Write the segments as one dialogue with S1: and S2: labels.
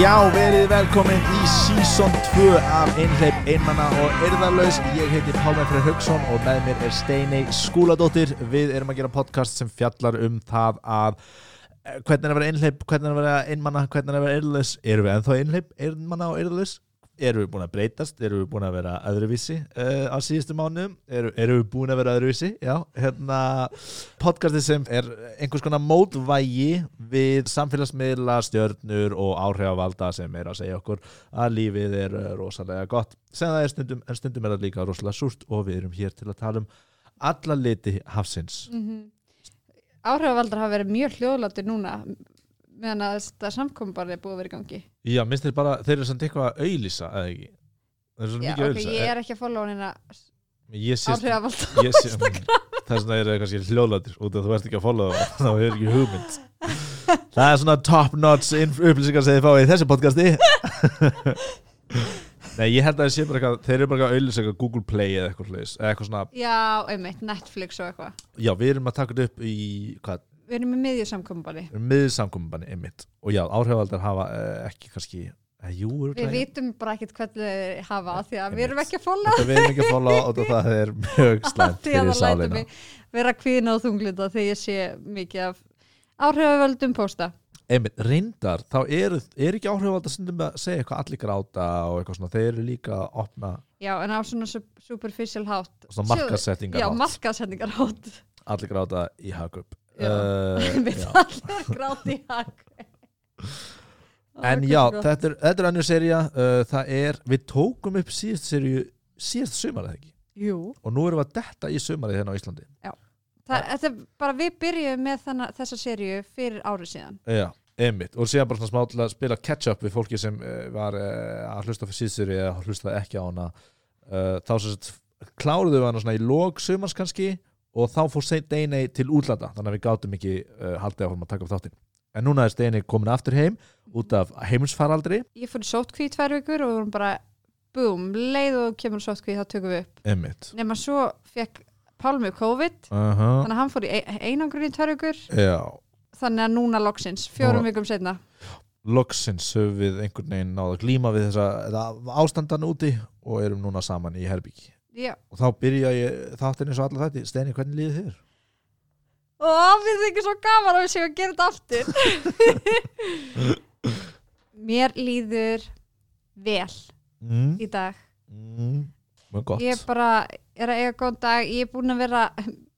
S1: Já, verið velkomin í Season 2 af Einhleip Einmanna og Erðarlaus. Ég heiti Pálmar Freyr Haugsson og með mér er Steinei Skúladóttir. Við erum að gera podcast sem fjallar um það að eh, hvernig er að vera einhleip, hvernig er að vera einmanna, hvernig er að vera erðarlaus. Erum við ennþá einhleip, einmanna og erðarlaus? Erum við búin að breytast? Erum við búin að vera öðruvísi uh, á síðustu mánuðum? Erum, erum við búin að vera öðruvísi? Já, hérna podcasti sem er einhvers konar mótvægi við samfélagsmiðla, stjörnur og áhrifavalda sem er að segja okkur að lífið er eh, rosalega gott sem það er stundum, en stundum er það líka rosalega súrt og við erum hér til að tala um alla liti hafsins
S2: Mhm. áhrifavaldar hafa verið mjög hljóðlátur núna meðan að þetta samkomi bara er búið að vera í gangi
S1: Já, minnst þeir bara, þeir eru samt eitthvað að auðlýsa eða ekki Það er svona
S2: Já,
S1: mikið
S2: ok,
S1: auðlýsa
S2: ég er ekki að followa hann hérna
S1: ég sést,
S2: áhrifavald
S1: ég sé, það er svona er kannski hljóðlættir út af þú ert ekki að followa það, þá hefur ekki hugmynd það er svona top notch inf- upplýsingar sem þið fáið í þessu podcasti Nei, ég held að það sé bara eitthvað, þeir eru bara eitthvað auðlýs eitthvað Google Play eða eitthvað slags, eða eitthvað svona
S2: Já, einmitt, Netflix og eitthvað
S1: já, við erum að taka þetta upp í hvað,
S2: Við erum í miðju samkomi bara
S1: miðsamkombanni einmitt, og já, áhrifaldar hafa eh, ekki kannski, eh, jú, eru
S2: Við vitum bara ekkert hvernig þeir hafa af því að við erum
S1: Einmitt.
S2: ekki að followa
S1: þetta við erum ekki að followa og það er mjög slæmt
S2: því að
S1: fyrir
S2: það lætur
S1: sáleina
S2: mig vera kvíðin og þunglita þegar ég sé mikið af áhrifavöldum pósta
S1: einmitt, reyndar, þá eru er ekki áhrifald að stundum að segja eitthvað allir gráta og eitthvað svona, þeir eru líka að opna
S2: Já, en á svona sup- superficial hátt
S1: svona
S2: Sjöðu-
S1: markasettingar
S2: Já, markasetningar hátt
S1: allir gráta í hagup
S2: Já. Við
S1: uh,
S2: allir gráti í hak
S1: en já, þetta er, þetta er önnur seria uh, það er, við tókum upp síðast serju síðast sumarið ekki
S2: Jú,
S1: og nú erum við að detta í sumarið hérna á Íslandi
S2: það, þetta er bara við byrjuðum með þarna, þessa serju fyrir árið síðan
S1: já, einmitt, og síðan bara svona smá til að spila catch up við fólki sem uh, var uh, að hlusta fyrir síðast serju eða hlusta ekki á hana uh, þá sem sagt kláruðu við hana svona í lók sumars kannski og þá fór Steinei til útlanda þannig að við gátum ekki uh, haldið áfram að taka upp þáttinn en núna er Steinei komin aftur heim út af heimsfaraldri
S2: Ég fór í sótkví í tvær vikur og við vorum bara búm, leið og þú kemur úr sótkví þá tökum við upp
S1: Einmitt
S2: nema svo fekk Pálmi COVID
S1: uh
S2: þannig að hann fór í e- einangrun í tvær vikur
S1: Já,
S2: þannig að núna loksins, fjórum
S1: Nú-
S2: vikum setna
S1: loksins höfum við einhvern veginn náða að glíma við þessa þetta ástandan úti og erum núna saman í Herbyggi
S2: Já,
S1: og þá byrja ég þáttin eins og alla þætti Steini, hvernig líður þér?
S2: og við þykir svo gaman að við séum að gera þetta aftur Mér líður vel
S1: Mm.
S2: í dag
S1: Mm. Mjög gott
S2: Ég bara er að eiga góðan dag, ég er búin að vera,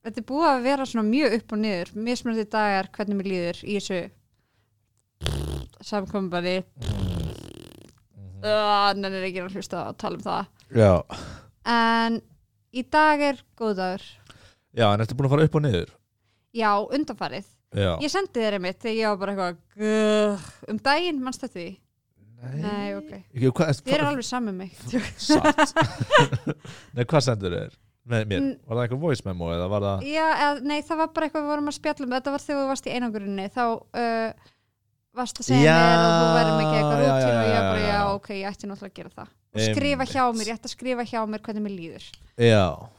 S2: þetta er búið að vera svona mjög upp og niður, mismunandi dagar, hvernig mér líður í þessu samkombari, þannig er ekki að hlusta að tala um það.
S1: Já.
S2: En í dag er góð dagur,
S1: Já, en ertu búin að fara upp og niður?
S2: já, undanfarið.
S1: Já
S2: Ég sendi þér einmitt þegar ég var bara eitthvað, "Gugh." um daginn, mannst þetta því? Nei, ok.
S1: Ég, hvað,
S2: Þið eru alveg saman með mig.
S1: Satt Nei, hvað sendur þér? Með mér,
S2: Mm.
S1: var það eitthvað voice memo eða var það
S2: Já, eða, nei, það var bara eitthvað við vorum að spjalla um þetta var þegar þú varst í einangurinni þá uh, varst að segja
S1: Já,
S2: mér og þú verðum ekki eitthvað
S1: já,
S2: rútín
S1: já,
S2: og ég
S1: já,
S2: bara,
S1: já.
S2: já, ok, ég ætti náttúrulega að gera það og skrifa hjá mér, ég ætti að skrifa hjá mér hvernig mér líður
S1: Já,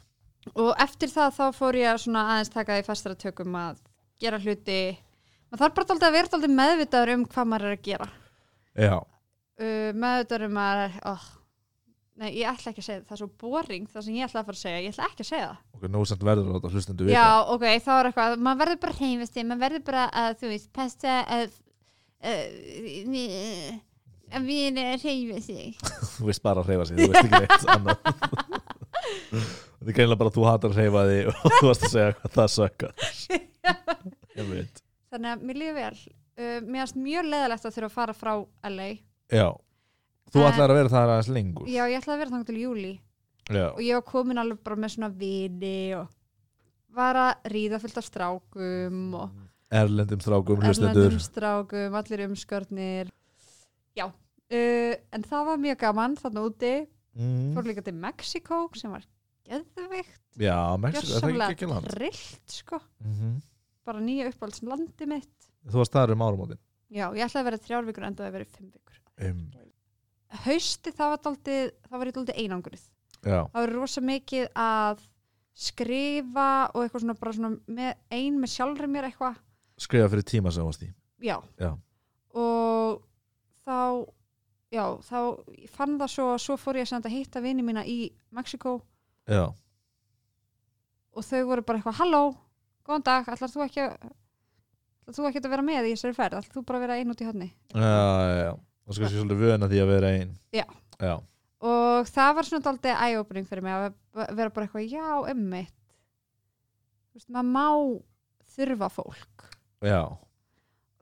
S2: og eftir það þá fór ég að svona aðeins taka því fastara tökum að gera hluti maður þarf bara dálítið að vera dálítið meðvitaður um hvað maður er að gera
S1: já,
S2: uh, meðvitaður um að oh, nei, ég ætla ekki að segja það, það er svo boring það sem ég ætla að fara að segja, ég ætla ekki að segja það
S1: ok, nú samt verður þetta hlustendu vita
S2: Já, ok, þá er eitthvað, maður verður bara heimvisti, maður verður bara að, þú veist, passa að, að, að við erum heimvisti.
S1: þú veist bara að hreyfa sig, þú veist ekki neitt annað þetta er greinlega bara að þú hatar að hreyfa þig og þú varst að segja hvað það sökkar ég veit
S2: Þannig að mér líður vel. Uh, mér erst mjög leðalegt að þurfa að fara frá LA.
S1: já, þú
S2: En-
S1: ætlar að vera það aðeins lengur
S2: Já, ég ætlaði að vera þangt til júli
S1: já,
S2: og ég var komin alveg bara með svona vini og var að ríða fullt af strákum og
S1: erlendum strákum hlustendur
S2: erlendum strákum, allir umskörnir. Já, uh, en það var mjög gaman þarna úti.
S1: mm.
S2: Fór líka til Mexiko sem var geðveikt.
S1: já, Mexiko, það er ekki ekki
S2: gjörsamlega
S1: land
S2: trillt sko,
S1: mm
S2: bara nýja uppáhalds landi mitt.
S1: þú varst þar um árumótin
S2: Já, ég ætlaði að vera þrjár vikur enda að vera fimm vikur.
S1: um,
S2: Hausti það var daldið, það var ég daldið einangrið.
S1: já,
S2: Það var rosa mikið að skrifa og eitthvað svona bara svona með, ein með sjálfri mér eitthvað.
S1: skrifa fyrir tíma sem þú varst í
S2: Já.
S1: Já.
S2: Og þá já, þá ég fann það svo svo fór ég samt að hitta vini mína í Mexiko
S1: já,
S2: og þau voru bara eitthvað, halló, góðan dag ætlar þú ekki að ætlar þú ekki að vera með í þessari ferð, ætlar þú bara að vera einn út í hodni
S1: já, já, já. og sko sé svolítið vöna því að vera einn
S2: Já.
S1: já,
S2: og það var svona daldið eye-opening fyrir mig að vera bara eitthvað, já, emmitt þú veist, maður má þurfa fólk
S1: já,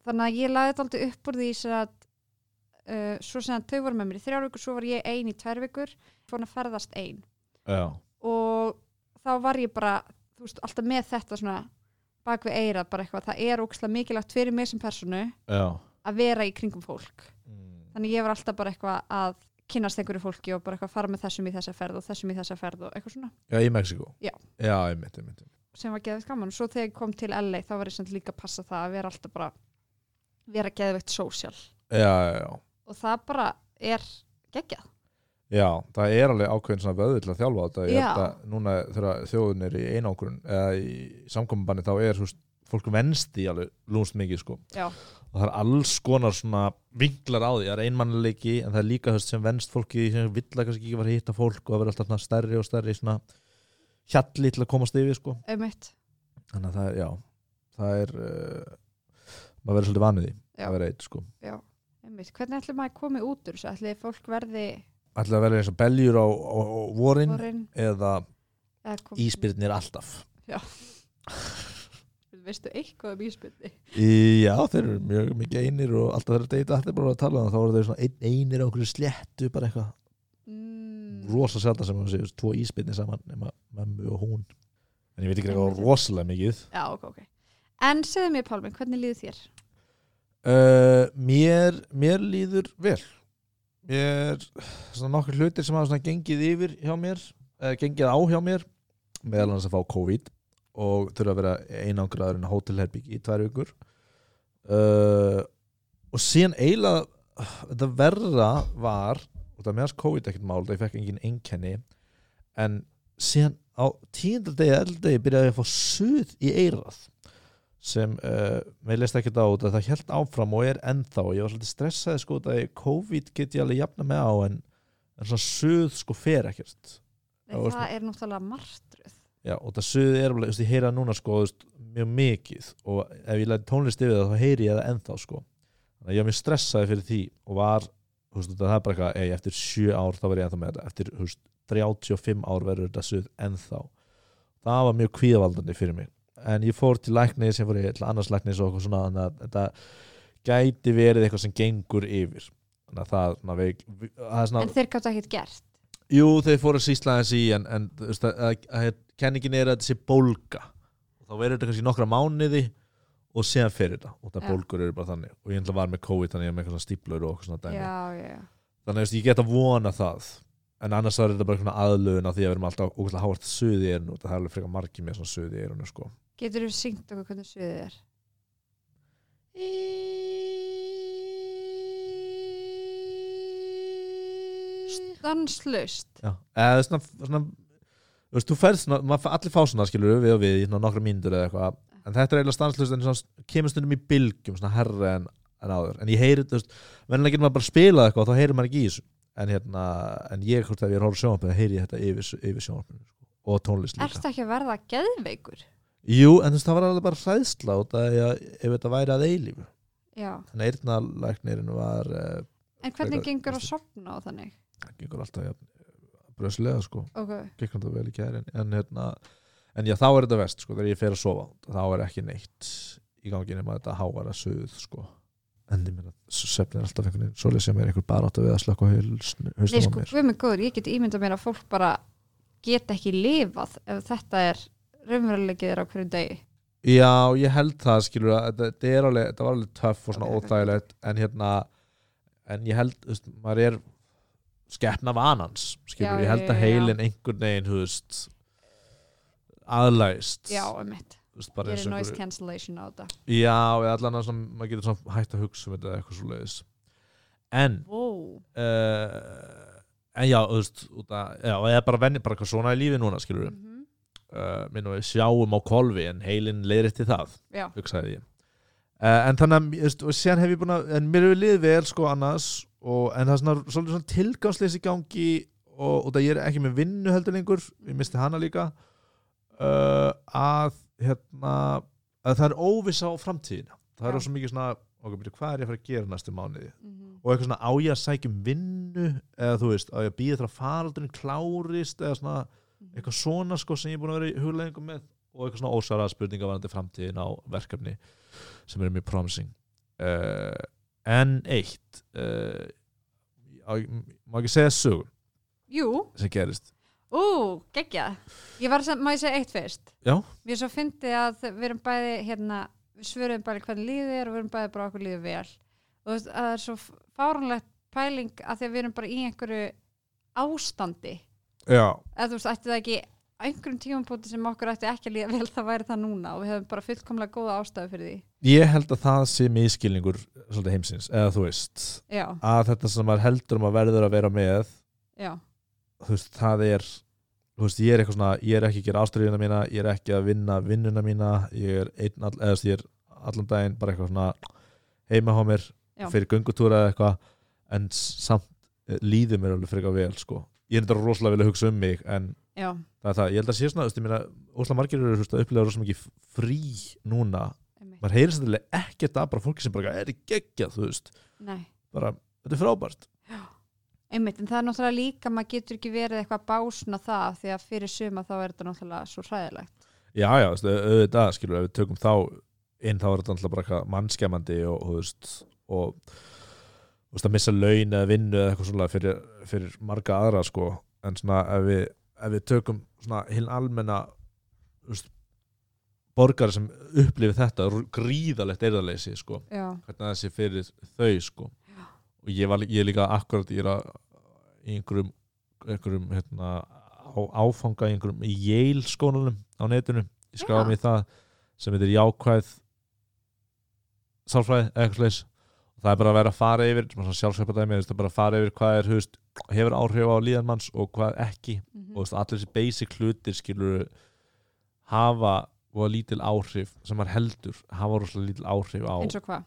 S2: þannig að ég laði þetta aldrei upp úr því sem að uh, svo sem að þau voru með mér í þrjár vikur svo var ég ein í tvær vikur fór að ferðast ein
S1: já.
S2: og þá var ég bara þú veist, alltaf með þetta svona bak við eirað bara eitthvað, það er ókslega mikilvægt fyrir mig sem personu
S1: já.
S2: að vera í kringum fólk
S1: Mm.
S2: þannig ég var alltaf bara eitthvað að kynast einhverju fólki og bara eitthvað fara með þessum í þessa ferð og þessum í þessa ferð og eitthvað svona
S1: já, í Mexiko
S2: Já.
S1: já, einmitt, einmitt, einmitt.
S2: sem var geðveikt gaman og svo þegar ég kom til LA þá var ég samt líka að passa það að vera alltaf bara vera geðveikt sósjál
S1: já, já, já
S2: og það bara er geggjað
S1: Já, það er alveg ákveðin svona vöðu til að þjálfa á þetta ég
S2: Já.
S1: held að núna þegar þjóðun er í einangrun eða í samkominbanni þá er svo, fólk venst í alveg lúmst mikið sko
S2: Já.
S1: og það er alls konar svona vinklar á því, það er einmannleiki en það er líka þess sem venst fólki sem vill að kannski ekki var að hitta fólk og það verður alltaf svona stærri og stærri svona hjalli til að komast yfir sko
S2: auðvitað
S1: þannig að það er, já, það er uh, maður verður svolítið vanið því
S2: Já.
S1: að vera eitt sko
S2: Einmitt. Hvernig ætlum maður að koma út úr þessu? Ætlum fólk verði
S1: Ætlaði að vera eins og beljur á, á, á vorin,
S2: orðin?
S1: eða íspyrnir alltaf
S2: Veistu eitthvað um íspyrni?
S1: Í- Já, þeir eru mjög mikið einir og alltaf þeir eru að deyta allir bara að tala um það, þá eru þeir svona ein, einir á einhverju sléttu, bara eitthvað
S2: Mm,
S1: rosa sjaldan sem hann séu, tvo íspinni saman nema mömmu og hún en ég veit ekki eitthvað rosalega mikið
S2: já, ok, ok. En segðu mér Pálmi, hvernig líður þér?
S1: uh, mér, mér líður vel mér svona nokkur hlutir sem hafa svona gengið yfir hjá mér eða gengið á hjá mér meðal hans að fá COVID og þurfa að vera einangraður en hótelherbygg í tvær vikur uh, og síðan eiginlega þetta verra var og það meðast COVID ekkert mál það ég fekk engin einkenni en síðan á tíundardegi eldegi byrjaði ég að fá suð í eirað sem uh, mér leist ekkert á út að það held áfram og er ennþá ég var svolítið stressaði sko út að ég- COVID get ég alveg jafna með á en, en svona suð sko fer ekkert Já,
S2: Nei, það
S1: veistu-
S2: er náttúrulega martruð.
S1: Já, og það suðið er alveg, þú veist, ég heyra það núna sko, þú veist, mjög mikið og ef ég læti tónlist yfir það þá heyri ég það ennþá sko. Þannig að ég var mjög stressaði fyrir því og var, þú veist, það er bara eitthvað, ei, eftir sjö ár þá verð ég ennþá með þetta, eftir, þú veist, 35 ár verður þetta suð ennþá. Það var mjög kvíðavaldandi fyrir mig. En ég fór til læknis, ég fór í- til annars læknis og eitthvað svona, þannig að þetta gæti verið eitthvað sem gengur yfir. Þannig að það, svona, veik, það er svona,
S2: En þeir gáttu ekkert gert.
S1: Jú, þeir fóru að sýsla þessi í en, en þú veist, að, að, að, kenningin er að þetta sé bólga og þá verður þetta kannski nokkra mánuði og séðan fyrir þetta og það
S2: Já.
S1: bólgur eru bara þannig og ég ætla var með COVID þannig að ég er með eitthvað svona stíplur og okkur svona dæmi
S2: Já, já, já.
S1: þannig að þú veist, ég get að vona það en annars er þetta bara eitthvað aðlöðun af því að við erum alltaf ókvæmlega hávært suði í erun og það er alveg frekar margi með svona suði í erun sko.
S2: Getur þú syngt okkur hvernig sviðið er? Eh. Stanslust.
S1: Já, eða svona, svona þú veist, þú ferð svona, maður, allir fá svona skilur við og við í svona nokkra mínútur eða eitthvað en þetta er eiginlega stanslust en svona kemur stundum í bylgjum svona herra en, en áður en ég heyri, þú veist, mennilega getur maður bara spilað eitthvað og þá heyrir maður ekki í þessu en hérna, en ég hvort ef ég er að horfa á sjónvarpið þá heyri ég þetta yfir, yfir sjónvarpinu sko. og tónlist líka
S2: Ertu ekki að verða geðveikur?
S1: Jú, en þú veist, það var alveg bara hræðsla út af því að ef þetta væri að eilífu
S2: Já.
S1: en eirnalæknirinn var uh,
S2: En hvernig
S1: Frekar-
S2: gengur að sopna á þannig?
S1: gengur alltaf ja, bröslega sko
S2: Ok,
S1: gekk hann það vel í gær en, en, hérna, en já, þá er þetta vest sko, þegar ég fer að sofa þá er ekki neitt í gangi nema þetta háara suð sko. en ég meina, svefn er alltaf einhvern veginn svolítið sem er einhver barátt að við að slaka
S2: Nei
S1: hausnum á
S2: sko,
S1: mér
S2: guð mig góður, ég get ímyndað mér að fólk bara get ekki lifað ef þetta er raunverulegið er á hverju degi.
S1: já, ég held það skilur að þetta, þetta, er alveg, þetta var alveg töff og svona
S2: Ok, ok.
S1: óþægilegt en hérna, en ég held þú veist, maður er skepna vanans skilur,
S2: Já,
S1: ég held
S2: já,
S1: að
S2: já, já.
S1: heilin einhvern veginn þú veist aðlæst
S2: Já, um mitt.
S1: þú veist, bara
S2: Ég
S1: eins
S2: er
S1: og
S2: noise
S1: einhverju-
S2: cancellation á þetta.
S1: Já, eða allan að svona, maður getur svona hægt að hugsa um þetta eða eitthvað svo leiðis En
S2: Wow.
S1: uh, En já, þú veist út að, Já, eða bara venni, bara eitthvað svona í lífi núna skilur við
S2: Mm
S1: Eh, uh, Minn og við sjáum á kolvi en heilin leiðir til það,
S2: Já,
S1: hugsaði ég Uh, en þannig að, þú veist, og séðan hef ég búin að en mér hefur liðið vel sko annars og, en það er svona, svolítið svona tilgangsleysi í gangi og, og það ég er ekki með vinnu heldur lengur, ég misti hana líka uh, að hérna, að það er óvissa á framtíðina, það er
S2: Já.
S1: svo mikið svona ok, byrju, hvað er ég að fara að gera næstu mánuði
S2: Mhm.
S1: og eitthvað svona á ég að sækja um vinnu eða þú veist, á ég að býða þar að faraldurinn klárist eða svona eitthvað svona sko sem ég er búin að vera í hugleðingum með og eitthvað svona ósvaraða spurninga varandi framtíðin á verkefni sem eru mjög promising uh, en eitt uh, á- má ekki segja sögur
S2: Jú,
S1: sem gerist
S2: ú, geggja Ég var sem, má ég segja eitt fyrst
S1: Já.
S2: Mér er svo fyndið að við erum bæði hérna, við svörum bæði hvernig líðið er og við erum bæði bara okkur líðið vel og þú veist, að það er svo fárunlegt pæling að því að við erum bara í einhverju ástandi
S1: já,
S2: eða þú veist, ætti það ekki á einhverjum tímapunkti sem okkur ætti ekki að líða vel það væri það núna og við hefum bara fullkomlega góða ástæðu fyrir því
S1: ég held að það sé miskilningur svolítið heimsins, eða þú veist
S2: já,
S1: að þetta sem maður heldur um að verður að vera með
S2: já,
S1: þú veist, það er þú veist, ég er eitthvað svona, ég er ekki að gera ástriðina mína ég er ekki að vinna vinnuna mína ég er einn, all, eða þú veist, ég er allan daginn bara eitthvað svona heima hjá mér
S2: Já.
S1: fyrir göngutúra eða eitthvað en samt eh, líður mér alveg frekar vel, sko ég er þetta rosalega vel að hugsa um mig, en
S2: já,
S1: það er það, ég held að sé svona, þú veist, ég meina óslega margir eru, þú veist, að upplega rosalega mikið frí núna,
S2: einmitt,
S1: maður heyrir sættilega ekkert að bara fólki sem bara er geggjað, þú veist
S2: nei
S1: bara, þetta er frábært
S2: einmitt, en það er náttúrulega líka, maður getur ekki verið eitthvað básna það því að fyrir suma þá er þetta náttúrulega svo hræðilegt
S1: Já, já, þú veist, auðvitað, skilur, ef við tökum þá inn þá er þetta alltaf bara eitthvað mannskemmandi og, og, þú veist, og þú veist, að missa laun eða vinnu eða eitthvað svona fyrir, fyrir marga aðra, sko, en svona ef við, ef við tökum svona hinn almenna, þú veist, borgari sem upplifi þetta rú- gríðalegt eirðarleysi, sko,
S2: já,
S1: hvernig það sé fyrir þau, sko, og ég var lí- ég er líka akkurat, ég er að í einhverjum, einhverjum, hérna, á, áfanga í einhverjum í Yale skólanum á netinu ég skráði
S2: Já.
S1: mig í það sem heitir jákvæð sálfræði eða eitthvað slags það er bara að vera að fara yfir sem er svona sjálfsveipað dæmi, þú veist, það er bara að fara yfir hvað er hefust, hefur áhrif á líðan manns og hvað ekki
S2: mm
S1: og þú veist, allir þessi basic hlutir skilur hafa og lítil áhrif sem maður heldur hafa rosalega lítil áhrif á
S2: eins og hvað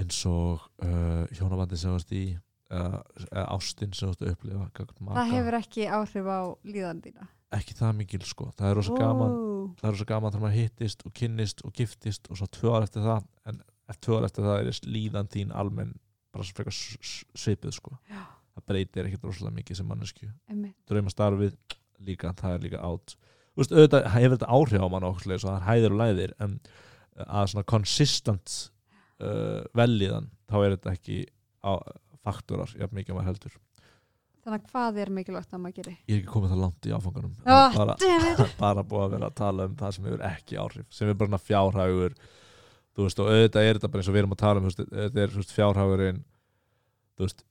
S1: eins og uh, hjónabandi sem þú veist í eða eða ástin sem þú veist að upplifa gagnvart maka.
S2: það hefur ekki áhrif á líðan þína
S1: ekki það mikil sko, það er rosa gaman það er rosa gaman þegar maður hittist og kynnist og giftist og svo tvö ár eftir það en eftir tvö ár eftir það er líðan þín almenn bara svo frekar s- s- svipuð sko
S2: Já.
S1: það breytir ekkert rosalega mikið sem mannesku
S2: einmitt,
S1: draumastarfið líka, það er líka átt þú veist, auðvitað hefur þetta áhrif á mann okkurlega, svo það er hæðir og læðir en eh, að svona consistent uh, velliðan, þá er þetta ekki á, faktorar, jafn mikið um að maður heldur
S2: þannig að hvað er mikilvægt að maður gerir
S1: ég er ekki komið það langt í áfanganum
S2: Ah,
S1: bara,
S2: damn
S1: bara búið að vera að tala um það sem hefur ekki áhrif, sem er bara svona fjárhagur þú veist, og auðvitað er þetta bara eins og við erum að tala um, þú veist, þetta er þú veist, fjárhagurinn þú veist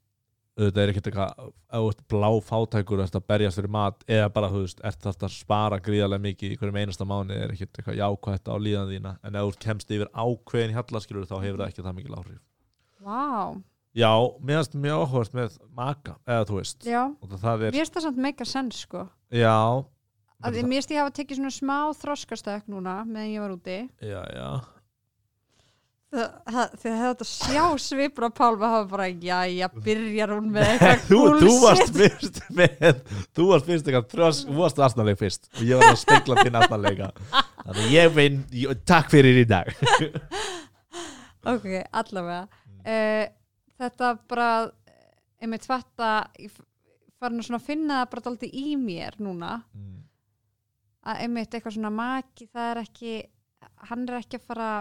S1: auðvitað er ekkert eitthvað, ef þú ert blá fátækur og ert að berjast fyrir mat, eða bara þú veist, ert þetta að spara gríðarlega mikið í hverjum einasta mánu, er ekkert eitthvað jákvætt á líðan þína, en ef þú kemst yfir ákveðin hallaskilur, þá hefur það ekki það mikil áhrif
S2: Vá,
S1: Já, meðast mjög áhverst með maka, eða þú veist
S2: já,
S1: og það
S2: mér
S1: er,
S2: finnst það samt meika sens sko
S1: já
S2: að ég- mér finnst ég hafa tekið svona smá þroskastökk núna meðan ég var úti
S1: já, já,
S2: þegar þetta sjá svipur á Pálma hafa bara, jæja, byrjar hún með eitthvað
S1: þú, þú
S2: bullshit.
S1: varst fyrst með, þú varst fyrst eitthvað þrjós, þú varst aðstæðanleik fyrst og ég var að spekla þinn aðstæðanleika þannig að ég vinn, ég- takk fyrir í dag
S2: ok, allavega uh, þetta bara eh, einmitt fatta ég f- farin að svona finna það bara dálítið í mér núna að einmitt eitthvað svona maki það er ekki, hann er ekki að fara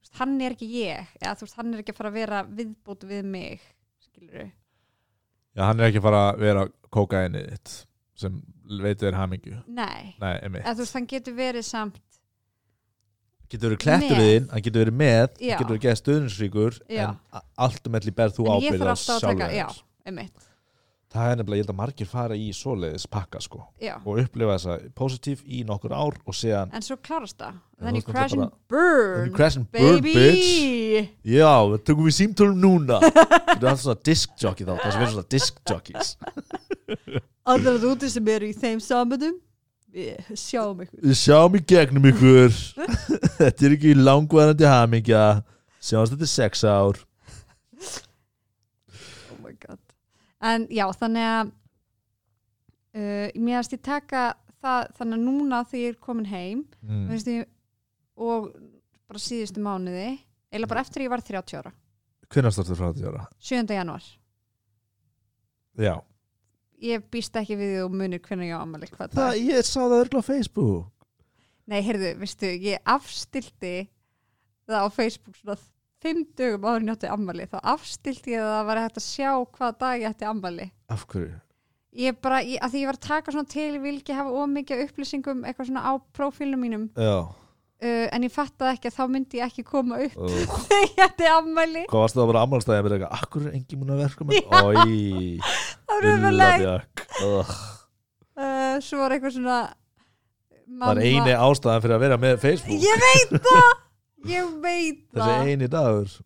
S2: þú veist, hann er ekki ég eða þú veist, hann er ekki að fara að vera viðbútt við mig skilur
S1: já, hann er ekki að fara að vera kókainið þitt sem veitur þér hamingju
S2: nei,
S1: nei, emi,
S2: eða þú veist, hann getur verið samt
S1: getur verið klettur
S2: Með.
S1: þinn hann getur verið með,
S2: Já.
S1: hann getur verið geða stöðningsríkur
S2: Já.
S1: en a- allt um elli berð þú
S2: En ég
S1: ábyrð
S2: þarf
S1: á
S2: alltaf að
S1: sjálfur
S2: taka- já.
S1: þér
S2: einmitt,
S1: það er nefnilega, ég held að margir fara í svoleiðis pakka sko
S2: já
S1: og upplifa þessa positív í nokkur ár og segja,
S2: en svo klarast það,
S1: En þú
S2: then you
S1: ert náttúrulega
S2: crash and
S1: bara-
S2: burn
S1: crash and burn
S2: baby
S1: bitch Já, við tökum við símtölum núna Þetta er alltaf svona diskjockey þá Það sem er svona diskjockeys
S2: allar úti sem eru í þeim samöndum við sjáum ykkur
S1: Við sjáum í gegnum ykkur þetta er ekki langvarandi hamingja sjáast þetta er sex ár
S2: oh my god en já þannig að uh, mér erst ég taka það þannig að núna þegar ég er komin heim
S1: mm.
S2: mm. ég, og bara síðustu mánuði eiginlega
S1: Mm.
S2: bara eftir að ég var 30 ára
S1: hvernig startur frá þetta ára?
S2: 7. januar
S1: já,
S2: ég býst ekki við því og munir hvernig ég á amali hvað það
S1: það, ég sá það örgla á Facebook
S2: Nei, heyrðu, veistu, ég afstilti það á Facebook svona fimm dögum áður en ég átti ammali þá afstilti ég að það var hægt að sjá hvaða dag ég ætti ammali
S1: af hverju?
S2: ég bara, ég, að því ég var að taka svona til ég vil ekki hafa ómikið af upplýsingum eitthvað svona á prófílnum mínum
S1: já,
S2: uh, en ég fattaði ekki að þá myndi ég ekki koma upp
S1: og
S2: þegar ég ætti ammali
S1: hvað varst það bara ammálstæði með eitthvað, akkur er engin mun að verka með oi,
S2: það var umverulegt
S1: ullabjak Ugh.
S2: uh, svo var eitthvað svona
S1: það er eini ástæðan fyrir að vera með Facebook
S2: ég veit það ég veit það
S1: þessi eini dagur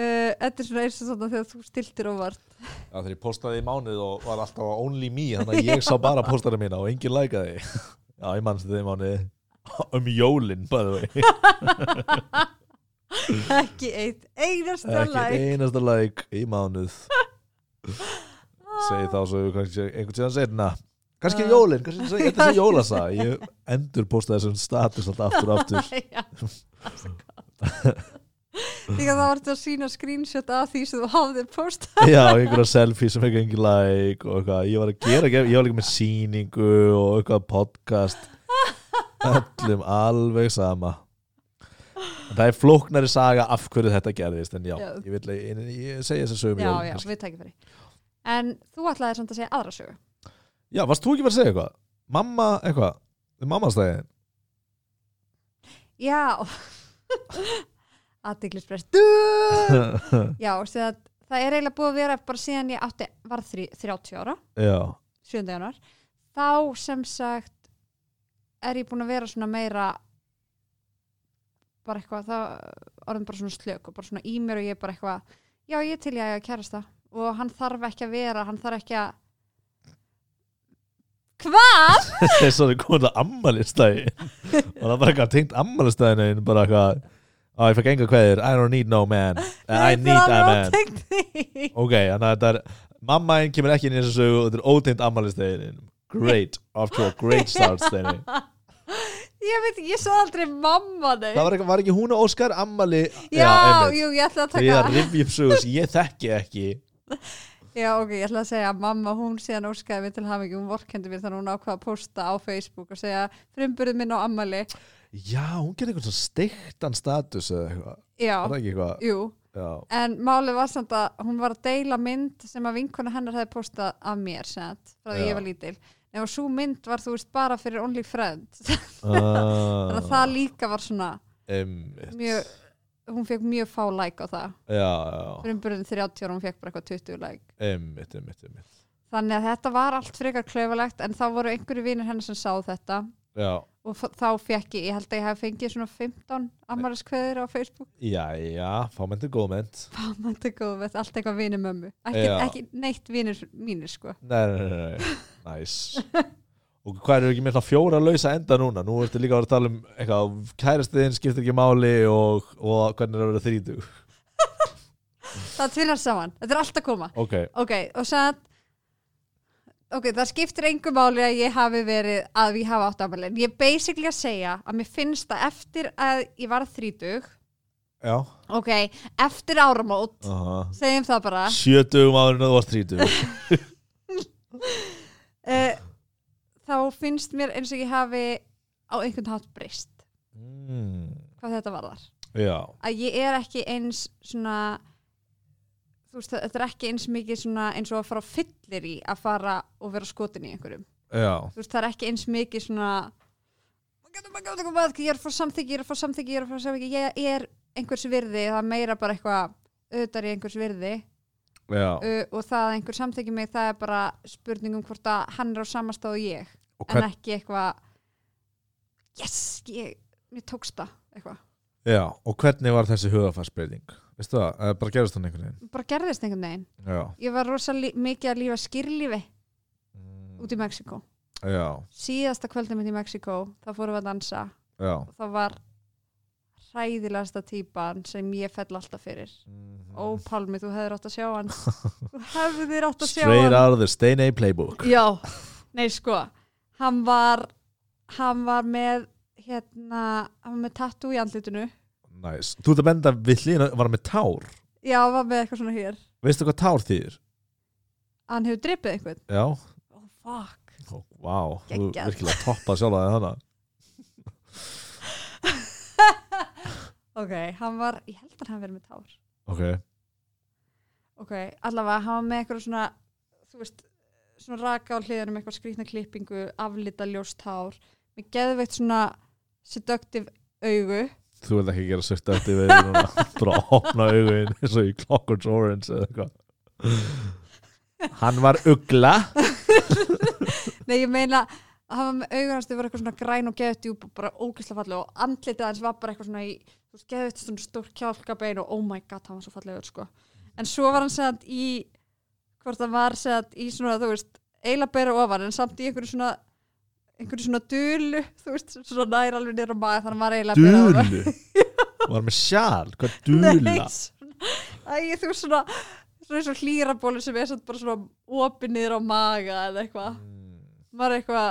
S2: Uh, þetta er svona eins og svona þegar þú stiltir óvart
S1: Já, þegar ég postaði í mánuð og var alltaf á only me, þannig að ég sá bara postara mína og enginn lækaði. Já, ég mannst þetta í mánuði um jólin, bæðu vei.
S2: ekki eitt einasta læk
S1: Ekki einasta læk í mánuð. Segði þá svo kannski einhvern tíðan setna. Kannski er jólin, kannski er þetta sem jólasa. Ég endur postaði þessum status alltaf aftur og aftur.
S2: Já, það er svo gott Líka það vartu að sína screenshot af því sem þú hafðir postað
S1: Já, einhverja selfie sem ekki engin læk og eitthvað. Ég var að gera, ég var líka með sýningu og eitthvað podcast. Öllum alveg sama. En það er flóknari saga af hverju þetta gerðist en já,
S2: Já.
S1: ég vil ég, ég segja þess að sögum
S2: Já,
S1: um jólin
S2: já,
S1: kannski.
S2: við tækjum fyrir En þú ætlaðir samt að segja aðra sögu
S1: já, varst þú ekki verið að segja eitthvað? Mamma, eitthvað, um mammastæðin
S2: Já Aðdeglisbrest Já, sem að það er eiginlega búið að vera bara síðan ég átti, var þrý, 30 ára
S1: Já,
S2: 7. januar þá sem sagt er ég búin að vera svona meira bara eitthvað þá orðum bara svona slök og bara svona í mér og ég bara eitthvað já ég er til ég að kærast það og hann þarf ekki að vera, hann þarf ekki að Hvað?
S1: það er svona komin að ammælistæðin og það var eitthvað tengt ammælistæðinu bara eitthvað, á ég fekk enga kveðir I don't need no man, I need a man
S2: man
S1: Ok, þannig að þetta er mammainn kemur ekki inn í þessu sögu og þetta er ótengt ammælistæðin Great, after all, great start stæðin
S2: Ég veit, ég sagði aldrei mamma nei
S1: Það var ekki, var ekki hún og Óskar ammali
S2: Já,
S1: einmitt.
S2: jú, ég ætla að
S1: Þegar ég er
S2: taka
S1: að rifja upp sögur sem ég þekki ekki
S2: Já, ok, ég ætla að segja að mamma, hún síðan óskaði mér til hafingi, hún vorkendi mér þannig að hún ákvaða að posta á Facebook og segja frumburðið minn á ammali.
S1: Já, hún gerði eitthvað svona steiktan status eða eitthvað Er
S2: Já,
S1: það ekki eitthvað?
S2: jú,
S1: Já,
S2: en málið var samt að hún var að deila mynd sem að vinkona hennar hefði postað af mér, sent, frá því
S1: Já.
S2: ég var lítil. Nefnum svo mynd var, þú veist, bara fyrir only friends.
S1: Ah,
S2: þannig að það líka var svona
S1: einmitt.
S2: mjög, hún fekk mjög fá like á það.
S1: Já, já,
S2: Frumburðin 30 ára, hún fekk bara eitthvað 20 like.
S1: einmitt, einmitt, einmitt
S2: Þannig að þetta var allt frekar klaufalegt, en þá voru einhverju vinir hennar sem sá þetta.
S1: Já,
S2: og f- þá fekk ég, ég held að ég hef fengið svona 15 ammaliskveðir á Facebook
S1: já, já, fámennt er góðmennt
S2: Fámant er góð með allt eitthvað vinir mömmu ekki,
S1: Já.
S2: ekki neitt vinir mínir sko
S1: Nei, nei, nei, nei, næs Og hvað eru ekki með svona fjóra lausa enda núna? Nú ertu líka að vera að tala um eitthvað Kærastiðin skiptir ekki máli og, og hvernig er að vera þrítug
S2: það tvinnar saman, þetta er allt að koma
S1: Ok,
S2: ok, og sann ok, það skiptir engu máli að ég hafi verið að við hafa átt ammalin ég er basically að segja að mér finnst að eftir að ég var þrítug
S1: já
S2: ok, eftir áramót
S1: uh -huh.
S2: segjum það bara
S1: Sjö dögum áður en þú varst þrítug
S2: uh, þá finnst mér eins og ég hafi á einhvern hátt breyst
S1: mm,
S2: hvað þetta varðar
S1: Já,
S2: að ég er ekki eins svona þú veist þetta er ekki eins mikið svona eins og að fara á fyllir í að fara og vera skotin í einhverjum
S1: já,
S2: þú veist það er ekki eins mikið svona "Oh my God, oh my God, oh my God, ég er að fá samþyggi, ég er að fá samþyggi ég er að fá samþyggi, ég er einhvers virði það er meira bara eitthvað auðvitað er ég einhvers virði
S1: já
S2: uh, og það að einhver samþyggi mig það er bara spurning um hvort að hann er á samastáð og ég
S1: Og
S2: en
S1: hvern,
S2: ekki eitthvað yes, ég, mér tókst það eitthvað,
S1: já, og hvernig var þessi hugafarsbreyting? Veistu það, eða bara gerðist hann einhvern veginn?
S2: bara gerðist einhvern veginn
S1: Já.
S2: ég var rosa lí- mikið að lífa skýrlífi út í Mexiko
S1: Hmm, Já,
S2: síðasta kvöldum mitt í Mexiko þá fórum við að dansa
S1: já,
S2: og þá var hræðilegasta típan sem ég fell alltaf fyrir
S1: Mhm.
S2: ó Palmi, þú hefðir átt að sjá hann þú hefðir átt að sjá
S1: Hmm. Straight
S2: hann
S1: out of the Steiney playbook
S2: Já, nei sko hann var hann var með hérna, hann var með tattoo í andlitinu
S1: nice. Þú ert að benda við hlýna var hann með tár,
S2: já, hann var með eitthvað svona hér
S1: veistu hvað tár þýðir?
S2: hann hefur dripið einhvern
S1: Já,
S2: oh fuck,
S1: Ó, vá, þú
S2: Geggjað.
S1: virkilega toppa sjálfa þig hana
S2: ok, hann var ég held að hann verið með tár
S1: Ok,
S2: ok, allavega, hann var með eitthvað svona þú veist, svona raka á hliðanum eitthvað skrýtna klippingu, aflita ljóst hár með geðveitt svona seductive augu
S1: þú vilt ekki gera sérst eftir við núna bara að opna augun eins og í Clockwork Orange eða eitthvað Hann var ugla
S2: Nei, ég meina hann var með augun hans, þau var eitthvað svona græn og geðut djúb og bara ógæslega falleg og andlitið hans var bara eitthvað svona í, þú veist, geðut svona stór kjálkabein og oh my god, hann var svo fallegur, sko. En svo var hann segðan í, hvort hann var segðan í svona, þú veist, eila beira ofan en samt í einhverju svona einhverju svona dulu, þú veist, svona nær alveg nýra maður, þannig var eila beira ofan.
S1: Dulu Var með sjál, hvað dula
S2: Nei, svona- Æ, þú veist svona, svona eins og hlýrabólu sem er samt bara svona opið niður á maga eða eitthvað var eitthvað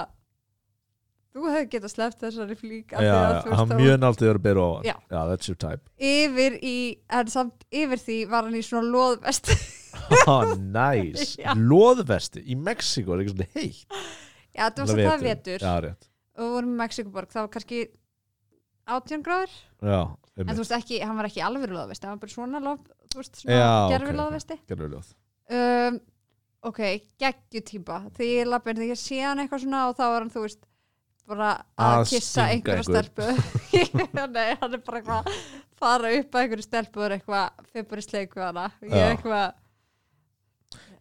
S2: þú hefði getað sleppt þessari flík af
S1: Já,
S2: því að
S1: já,
S2: þú veist,
S1: hann
S2: þá-
S1: mjög nált yfir að byrja ofan
S2: Já.
S1: that's your type
S2: yfir í, en samt yfir því var hann í svona loðvest
S1: oh, Nice,
S2: Já.
S1: loðvesti í Mexiko, er eitthvað svona heitt
S2: já, þú veist að það er vetur
S1: Já, rétt
S2: og við vorum í Mexikoborg, það var kannski 18 gráður,
S1: Já,
S2: en þú
S1: einmitt,
S2: veist ekki, hann var ekki alveg loðvesti, hann var bara svona loð, þú veist, svona
S1: Já, ok,
S2: gerfi
S1: ok.
S2: loðvesti
S1: gerður ljóð
S2: um, ok, geggju típa því ég lappin, þegar ég sé hann eitthvað svona og þá er hann, þú veist bara að
S1: Að
S2: kissa
S1: stinga
S2: einhverja
S1: einhvern.
S2: stelpu nei, hann er bara eitthvað að fara upp að einhverju stelpu og er eitthvað fyrir sleiku hana ég
S1: Já.
S2: er eitthvað,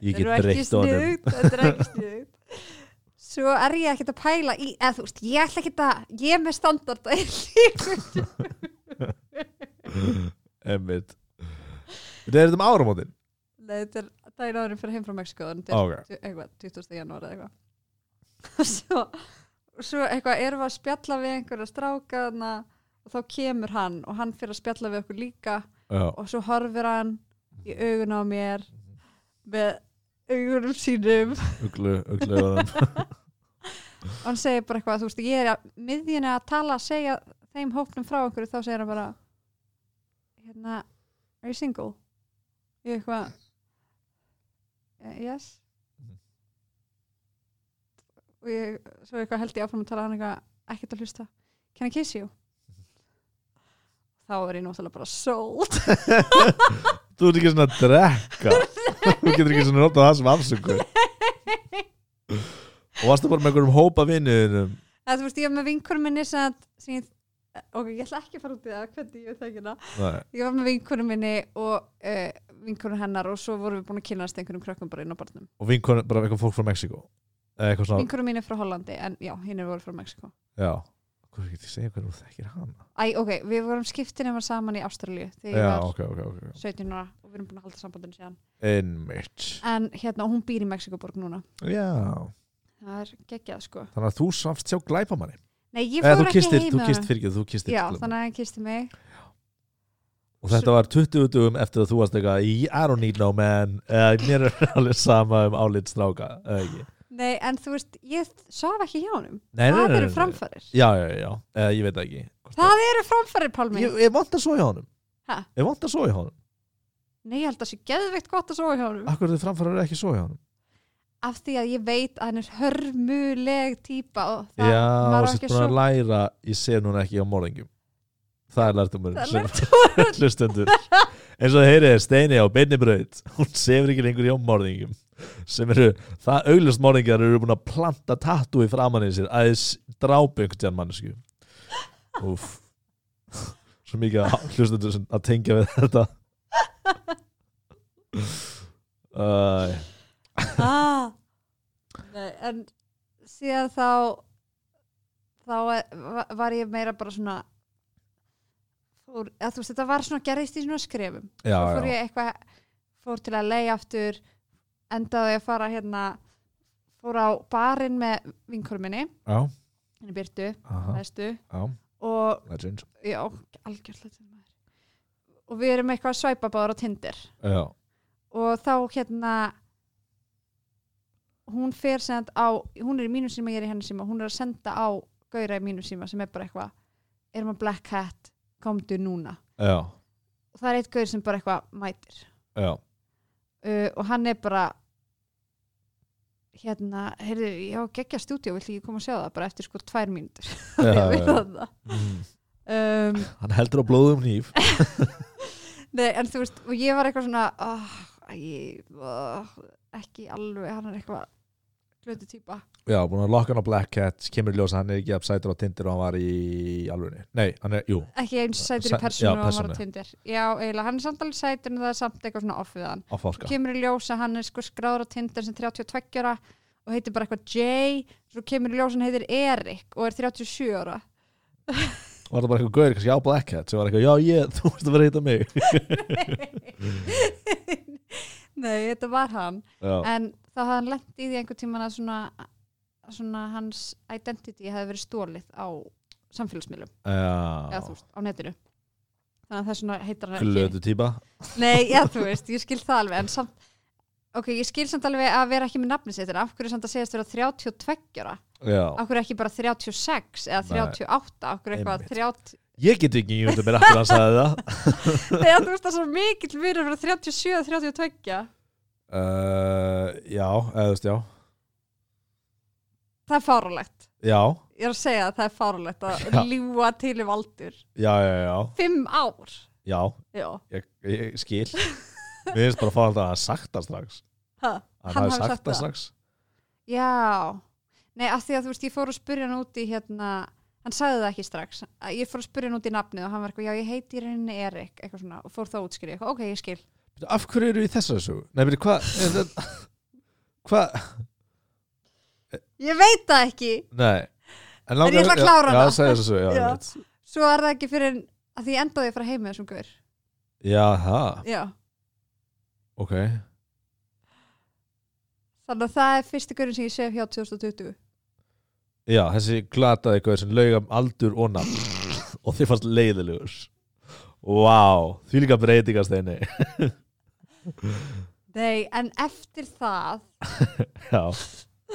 S1: Ég
S2: eru
S1: get
S2: ekki
S1: breytt honum
S2: sniðugt þetta er ekki sniðugt svo er ég ekkert að pæla í eða þú veist, ég ætla ekkert að ég er með standarda í lífi.
S1: Einmitt Þetta er þetta um áramótin
S2: nei, þetta er daginn áðurinn fyrir heim frá Mexiko þetta er
S1: okay.
S2: tu- eitthvað, 20. janúar eða eitthvað og svo, og svo eitthvað erum við að spjalla við einhverja stráka þarna og þá kemur hann og hann fyrir að spjalla við okkur líka
S1: Já,
S2: og svo horfir hann í augun á mér með augunum sínum
S1: uglu, uglu var hann
S2: og hann segir bara eitthvað, þú veist, ég er að miðjunni að tala, að segja þeim hópnum frá einhverju, þá segir hann bara hérna, are you single? Ég eitthvað "Eh, yes og ég, svo eitthvað held ég áfram að tala hann eitthvað, ekkert að hlusta can I kiss you? þá er ég náttúrulega bara sold
S1: Þú ert ekki svona að drekka Þú getur ekki svona notað það sem afsöku Og varstu bara með einhverjum hópa vinnuðinum
S2: eða þú veist, ég var með vinkur minni sem, að- sem ég, ok, ég ætla ekki að fara út í það hvernig ég þekki hana
S1: Nei,
S2: ég var með vinkonu minni og uh, vinkonu hennar og svo vorum við búin að kynast einhverjum krökkum bara inn á barnum
S1: Og vinkonu, bara eitthvað fólk frá Mexiko Eða eitthvað svona,
S2: vinkonu mín er frá Hollandi en já, hinn er voru frá Mexiko
S1: já Hvað getur ég segja hvernig þú þekkir hana?
S2: Æ, ok, við vorum skiptin var saman í Ástralíu þegar
S1: Já,
S2: ég var
S1: ok, ok, ok
S2: 17 ára og við erum búin að halda sambandinu síðan
S1: Einmitt
S2: en hérna, og hún býr í Mexikoborg núna
S1: Já,
S2: það er geggjað sko
S1: þannig að þú samst sjá glæpamanni
S2: Nei, ég
S1: Eða
S2: fór
S1: þú
S2: ekki
S1: kistir,
S2: heim
S1: þú
S2: með
S1: kist
S2: honum.
S1: fyrir þú kistir
S2: Já,
S1: glæpamann.
S2: þannig að hann kisti mig
S1: og þetta var 20 dugum eftir að þú varst eitthvað í I don't need no man eða mér er alveg sama um álit stráka eða ekki
S2: Nei, en þú veist, ég svaf ekki hjá honum
S1: nei,
S2: Það eru framfarir
S1: já, já, já, eða, ég veit það ekki Hvort
S2: Það eru framfarir,
S1: að-
S2: Pálmi
S1: ég, ég vant að svo hjá honum
S2: Ha? Mm.
S1: ég vant að svo hjá honum,
S2: Nei, ég held að það sé geðveikt gott að sofa hjá honum
S1: akkur þið framfærar ekki svo hjá honum
S2: af því að ég veit að hann er hörmuleg típa og það
S1: já,
S2: var
S1: og
S2: ekki
S1: sérst búin
S2: svo
S1: að læra ég sé núna ekki á morðingum það er lærtumurinn
S2: Það er
S1: sem hlustendur eins og heyrið er Steini á beinnibraut hún sefur ekki lengur hjá morðingum sem eru, það auglust morðingar eru búin að planta tattu í framan í sér að þess drábjöngtjan mannesku Úff svo mikið að hlustendur sem að tengja við þetta Æ,
S2: ah. Nei, en síðan þá þá er- var ég meira bara svona fór, að þú veist þetta var svona gerðist í svona skrefum
S1: já,
S2: Svo fór
S1: já,
S2: ég eitthvað fór til að leiða aftur endaði að fara hérna fór á barinn með vinkur minni hérna
S1: já,
S2: henni Byrtu,
S1: aha,
S2: hæstu
S1: já
S2: og
S1: Legend
S2: já, algjörlega til maður og við erum eitthvað að svæpa báður á Tinder
S1: Já,
S2: og þá hérna hún fer send á hún er í mínum síma, ég er í hennar síma hún er að senda á gauðra í mínum síma sem er bara eitthvað erum að black hat, komdu núna
S1: já,
S2: og það er eitt gauður sem bara eitthvað mætir
S1: já
S2: uh, og hann er bara hérna, heyrðu, ég á að gegja stúdíu vill ekki koma að sjá það, bara eftir sko tvær mínútur
S1: Já, já.
S2: Ég veit það
S1: Mm.
S2: um,
S1: Hann heldur á blóðum nýf
S2: Nei, en þú veist, og ég var eitthvað svona oh, æ, oh, ekki alveg, hann er eitthvað glötu týpa
S1: Já, búin að lokka hann á Black Cat Kemur í ljós að hann er ekki upsætur á Tinder og hann var í alvörinni Nei, hann er, jú,
S2: ekki eins sætur
S1: Sæ-
S2: í persónu
S1: já,
S2: og hann var
S1: persónu.
S2: á Tinder já, eiginlega, hann er samt alveg sætur en það er samt eitthvað svona off við hann
S1: á fólka
S2: kemur í ljós að hann er sko skráður á Tinder sem 32 ára og heitir bara eitthvað Jay svo kemur í ljós að hann heitir Erik og er 37 ára
S1: Var það bara eitthvað gauður, kannski á Black Cat sem var eitthvað, já, ég, þú veist að vera að hitta mig
S2: nei, þetta var hann
S1: Já,
S2: en þá hafði hann lent í því einhver tíman að svona, svona hans identity hefði verið stólið á samfélagsmiðlum, eða þú
S1: já
S2: veist, á netinu þannig að það er svona heitar hann ekki
S1: Glöðu típa
S2: Nei, já, þú veist, ég skil það alveg en samt, ok, ég skil samt alveg að vera ekki með nafni sitt, en af hverju samt að segjast vera 32 ára,
S1: Já
S2: af hverju ekki bara 36 eða 38, af hverju eitthvað
S1: Einmitt.
S2: 30,
S1: Ég get ekki ímynda mér aftur að sagði það
S2: þegar þú veist það er svo mikill fyrir að vera 37 eða
S1: uh,
S2: 32
S1: Já, eða þú veist, já
S2: það er fárulegt,
S1: Já,
S2: ég er að segja að það er fárulegt að
S1: Já.
S2: ljúga til um aldur,
S1: já, já, já,
S2: 5 ár
S1: já
S2: já,
S1: ég, ég skil Mér finnst bara að fá alltaf að hafa sagt það strax
S2: ha,
S1: Hann, hann hafi sagt, það strax
S2: Já, nei af því að þú veist ég fór að spurja hann út í hérna hann sagði það ekki strax, Að ég fór að spurja hann út í nafnið og hann var eitthvað, já ég heiti í rauninni Erik eitthvað svona og fór þá útskýri, eitthvað, ok ég skil
S1: Bíddu, Af hverju eru við í þessari sögu? Nei, byrju, hvað er þetta- Hvað?
S2: Ég veit það ekki,
S1: Nei En
S2: ég ætla að klára
S1: Já,
S2: hana.
S1: já segja þessu sögu, já,
S2: Já.
S1: já. Veit.
S2: svo er það ekki fyrir að því ég endaði að fara heim með þessum gaur
S1: já, það,
S2: Já,
S1: ok
S2: þannig að það er fyrsti gaurin sem ég sef hjá 2020
S1: Já, þessi glataði eitthvað sem laug um aldur og nafn og þið fannst leiðilegur Vá, því líka breytingast einni
S2: Nei, en eftir það
S1: Já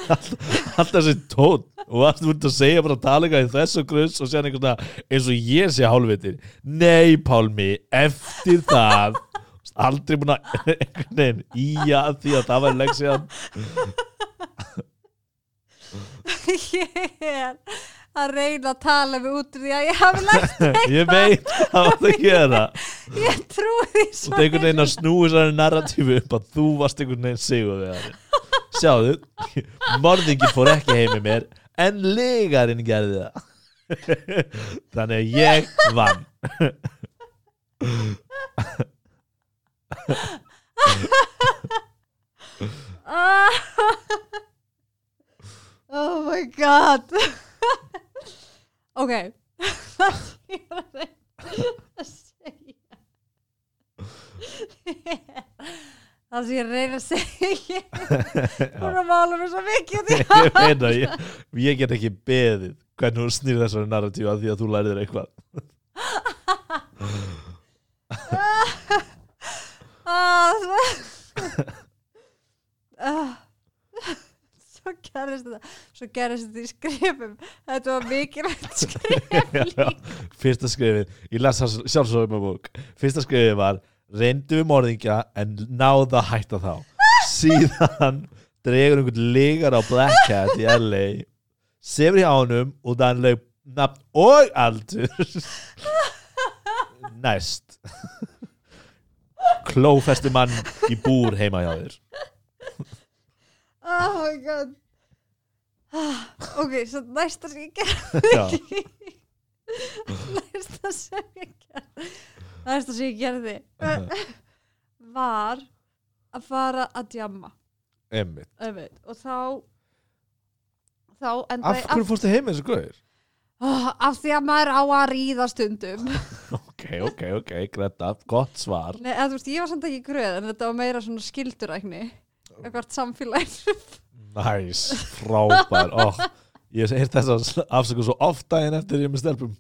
S1: Alltaf þessi tón og varst þú ert að segja bara talega í þessu grunns og segja einhvern veginn eins og ég sé hálfvitir Nei Pálmi, eftir það aldrei búin að einhvern veginn í að því að það var legg síðan
S2: ég er að reyna að tala við út úr því að ég hafi lært
S1: ég veit hvað var það að gera
S2: ég trúi því
S1: og
S2: svo
S1: það einhvern veginn að snúi þessari narratífu upp að þú varst einhvern veginn sigur við það Sjáðu, morðingin fór ekki heim með mér en legarinn gerði það Þannig að ég vann
S2: Oh my god Ok Það sem ég var að reyna að segja Það sem ég er að reyna að segja Hún er að mála mér svo mikið út í
S1: ég veit að ég, ég get ekki beðið hvernig hún snýr þessari narratíu að því að þú lærir eitthvað
S2: Ah, svo- Ah. Svo gerðist þetta Svo gerðist þetta í skrifum Þetta var mikilvægt skrif líka
S1: fyrsta skrifið, ég las sjálfsögum að bók, fyrsta skrifið var reyndu við morðingja en náða að hætta þá síðan dregur einhvern legar á Black Cat í LA sefur í ánum og þannig nafn og aldur næst klófestu mann í búr heima hjá þér
S2: Oh my god Ah, Ok, svo næsta sem ég gerði
S1: Já.
S2: Næsta sem ég gerði Næsta sem ég gerði Var að fara að djamma
S1: Einmitt.
S2: einmitt, Og þá Þá enda
S1: Af
S2: ég
S1: hverju fórstu heim með þessu guður?
S2: oh, Af því að maður á að ríða stundum
S1: Ok, ok, ok, greta, gott svar
S2: Nei, eða, þú veist, Ég var samt ekki gröð En þetta var meira svona skildurækni Eitthvað samfélaginu
S1: Næs, frábær oh, Ég hef heyrt þess að afsöku svo oft daginn eftir ég er með stelpum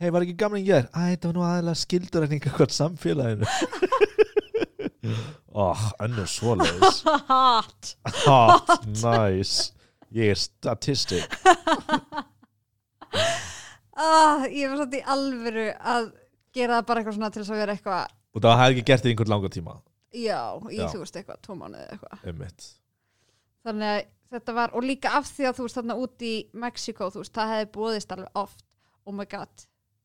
S1: hei, var ekki gamling ég er? Æ, þetta var nú aðeinslega skildurækning eitthvað samfélaginu oh, önnur svoleiðis
S2: Hot
S1: hot, nice ég er statistik
S2: ah, Ég var svolítið í alvöru að gera það bara eitthvað svona til þess að vera eitthvað
S1: og það hefði ekki gert þér einhvern langa tíma
S2: Já, ég
S1: Já.
S2: þú veist eitthvað, tvo mánuði eða eitthvað
S1: einmitt.
S2: Þannig að þetta var, og líka af því að þú veist þarna út í Mexiko, þú veist, það hefði búðist alveg oft Oh my god,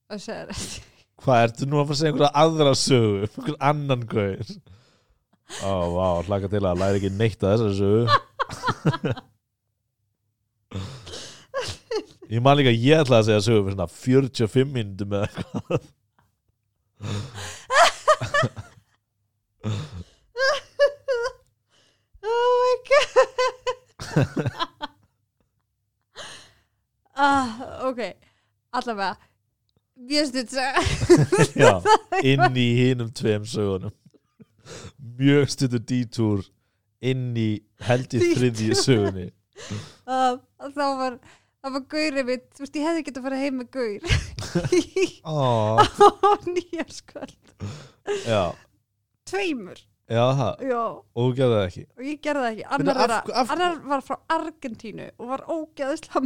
S2: það segir þetta
S1: hvað ertu nú að fara að segja einhverja aðra sögu einhvern annan gauð ó, vá, hlaka til að læra ekki neitt að þessari sögu ég man líka að ég ætlaði að segja sögu fyrir svona 45 minnum eða eitthvað
S2: Oh my god ah, Ok, allavega Ég stutt
S1: Já, inn í hinum tveim sögunum mjög stuttur dítúr inn í held í
S2: Detour.
S1: þriðji sögunni
S2: að að Ah, þá var það var gaurið mitt, þú veist ég hefði getað að fara heim með gaur
S1: Ó,
S2: á nýjarskvöld
S1: já,
S2: tveimur,
S1: já það
S2: já og
S1: og þú gerði það ekki
S2: ég gerði það ekki,
S1: Veitu,
S2: annar,
S1: af-
S2: af,
S1: af-
S2: annar var frá Argentínu og var ógeðislega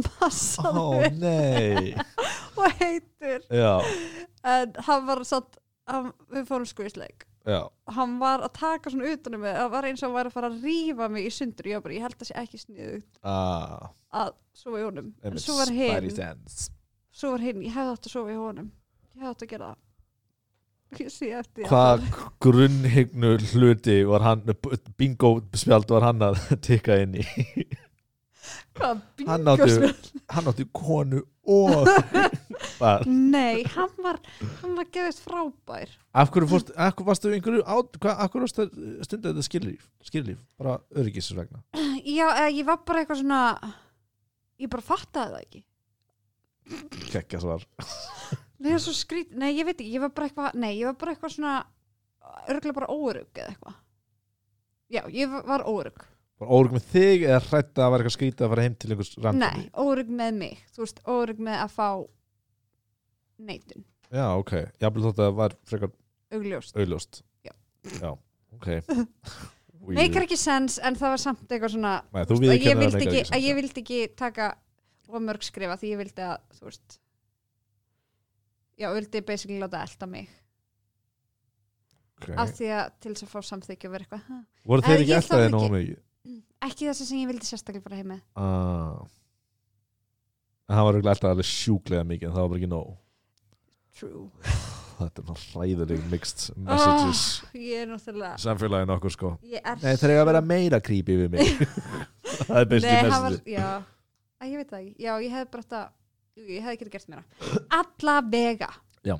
S1: Ó,
S2: massaður
S1: nei
S2: og heitur
S1: Já,
S2: en hann var satt, hann, við fórum skvísleik
S1: já
S2: og hann var að taka svona utanum mig, það var eins og hann væri að fara að rífa mig í sundur, ég, var bara, ég held að sé ekki sniðugt
S1: ah,
S2: að sofa í honum en
S1: einmitt,
S2: svo var
S1: spidey
S2: hinn
S1: sense.
S2: svo var hinn, ég hefði átt að sofa í honum ég hefði átt að gera það ég sé eftir því
S1: Hvað grunnhyggnu hluti var hann bingo spjald var hann að tikka inn í Hann
S2: hvað bingo
S1: átti,
S2: spil
S1: hann átti konu og Bara,
S2: nei, hann var hann var gefist frábær
S1: Af hverju, fórst, af hverju varstu einhverju át, hvað, af hverju varstu að stunda þetta skilríf, skilríf bara öryggisins vegna
S2: já, eða, ég var bara eitthvað svona ég bara fattaði það ekki
S1: Kekja svar
S2: Nei, það er svo skrít, nei, ég veit ekki, ég var bara eitthvað nei, ég var bara eitthvað svona örgulega bara óörug eða eitthvað já, ég var- var óörug
S1: Var órygg með þig eða hrætt að það vera eitthvað skrítið að fara heim til einhvers random
S2: nei, óörug með mig, þú veist, óörug með að fá neitun,
S1: Já, ok, jafnvel þótt að það var frekar
S2: augljóst
S1: auðljóst
S2: Já.
S1: Já, ok Weird.
S2: meikar ekki sens, en það var samt eitthvað svona
S1: Nei, þú
S2: að Sko, ég,
S1: viðurkennir að
S2: vildi
S1: meikar
S2: ekki,
S1: ekki
S2: að
S1: sens,
S2: ég vildi ekki taka og mörg skrifa því ég vildi að þú veist já, vildi basically láta elda mig
S1: já.
S2: af
S1: Ok.
S2: því að til þess að fá samþykja og vera eitthvað, "Ha,
S1: Voru þeir
S2: Eh,
S1: ekki
S2: ég
S1: alltaf þeir
S2: þarf
S1: nógu
S2: ekki-
S1: mikið?
S2: ekki þessi sem ég vildi sérstaklega bara heima
S1: Ah. En hann var örugglega alltaf alveg sjúklega mikið en það var bara ekki nóg
S2: true,
S1: Þetta er náttúrulega hræðileg mixed messages
S2: ég er náttúrulega
S1: samfélagin okkur sko
S2: ég er
S1: Nei, þeir eru að vera meira creepy við mig Það er besti
S2: Nei, hann var,
S1: message
S2: já, að, ég veit það ekki já, ég hefði bara þetta, jú, ég hefði ekki gert mér alla vega
S1: Já.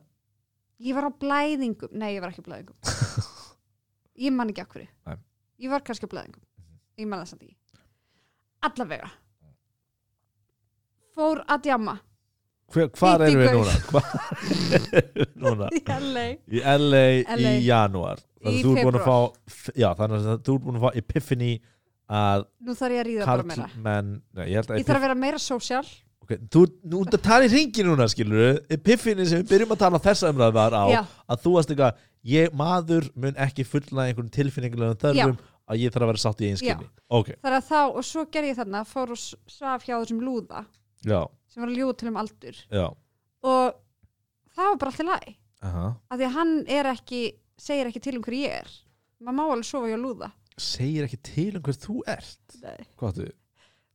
S2: ég var á blæðingum, nei ég var ekki á blæðingum ég man ekki okkur
S1: Nei. Mhm.
S2: ég var kannski á blæðingum ég man það samt ekki alla vega fór að djamma
S1: Hver, Hvar
S2: Fíti
S1: erum við
S2: gaur.
S1: núna? Hvar erum við núna?
S2: í LA
S1: Í LA, í
S2: LA.
S1: janúar Þannig
S2: Í
S1: að þú er búin að fá Já, þannig að þú er búin að fá epiphany að
S2: nú þarf ég að ríða bara meira
S1: karlmenn Nei, ég held að
S2: ég þarf að vera meira sósjál
S1: Ok, þú, nú ert að tala í ringi núna, skilur við Epiphany sem við byrjum að tala þessa umræðu var á
S2: Já.
S1: að þú varst eitthvað, ég, maður mun ekki fulla einhverjum tilfinningulegum þörfum að ég þarf að vera sátt í einskilni Ok,
S2: þar að þá, og svo gerði ég þarna fór og s- svaf hjá þessum lúða
S1: já,
S2: sem var að ljúga til um aldur
S1: já
S2: og það var bara allt í lagi
S1: Aha.
S2: af því að hann er ekki, segir ekki til um hver ég er maður má alveg sofa hjá lúða
S1: Segir ekki til um hver þú ert
S2: Nei.
S1: Hvað áttu?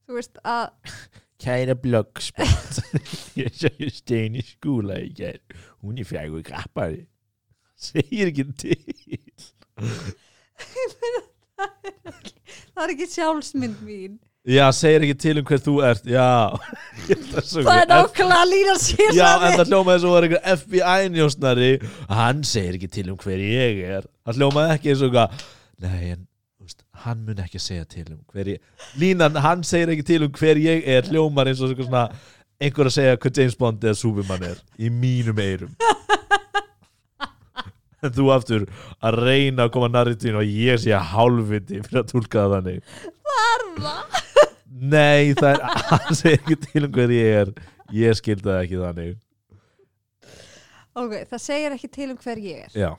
S2: þú veist að
S1: Kæra bloggspott Ég sagði stein í skúla í gær Hún er fjagur krappari Segir ekki til
S2: það er ekki sjálfsmynd mín
S1: Já, segir ekki til um hver þú ert Já
S2: það er nákvæmlega lína sér
S1: Já, en það hljómaði svo var einhver FBI-njósnari Hann segir ekki til um hver ég er Það hljómaði ekki eins og eitthvað Nei, en þú veist, hann mun ekki segja til um hver ég Línan, hann segir ekki til um hver ég er Hljómar eins og eitthvað svona Einhver að segja hver James Bond eða Superman er Í mínum eyrum En þú aftur að reyna að koma narritín og ég sé hálfviti fyrir að túlka það þannig
S2: það
S1: Nei, það er, hann segir ekki til um hver ég er Ég skildi það ekki þannig
S2: ok, það segir ekki til um hver ég er
S1: já,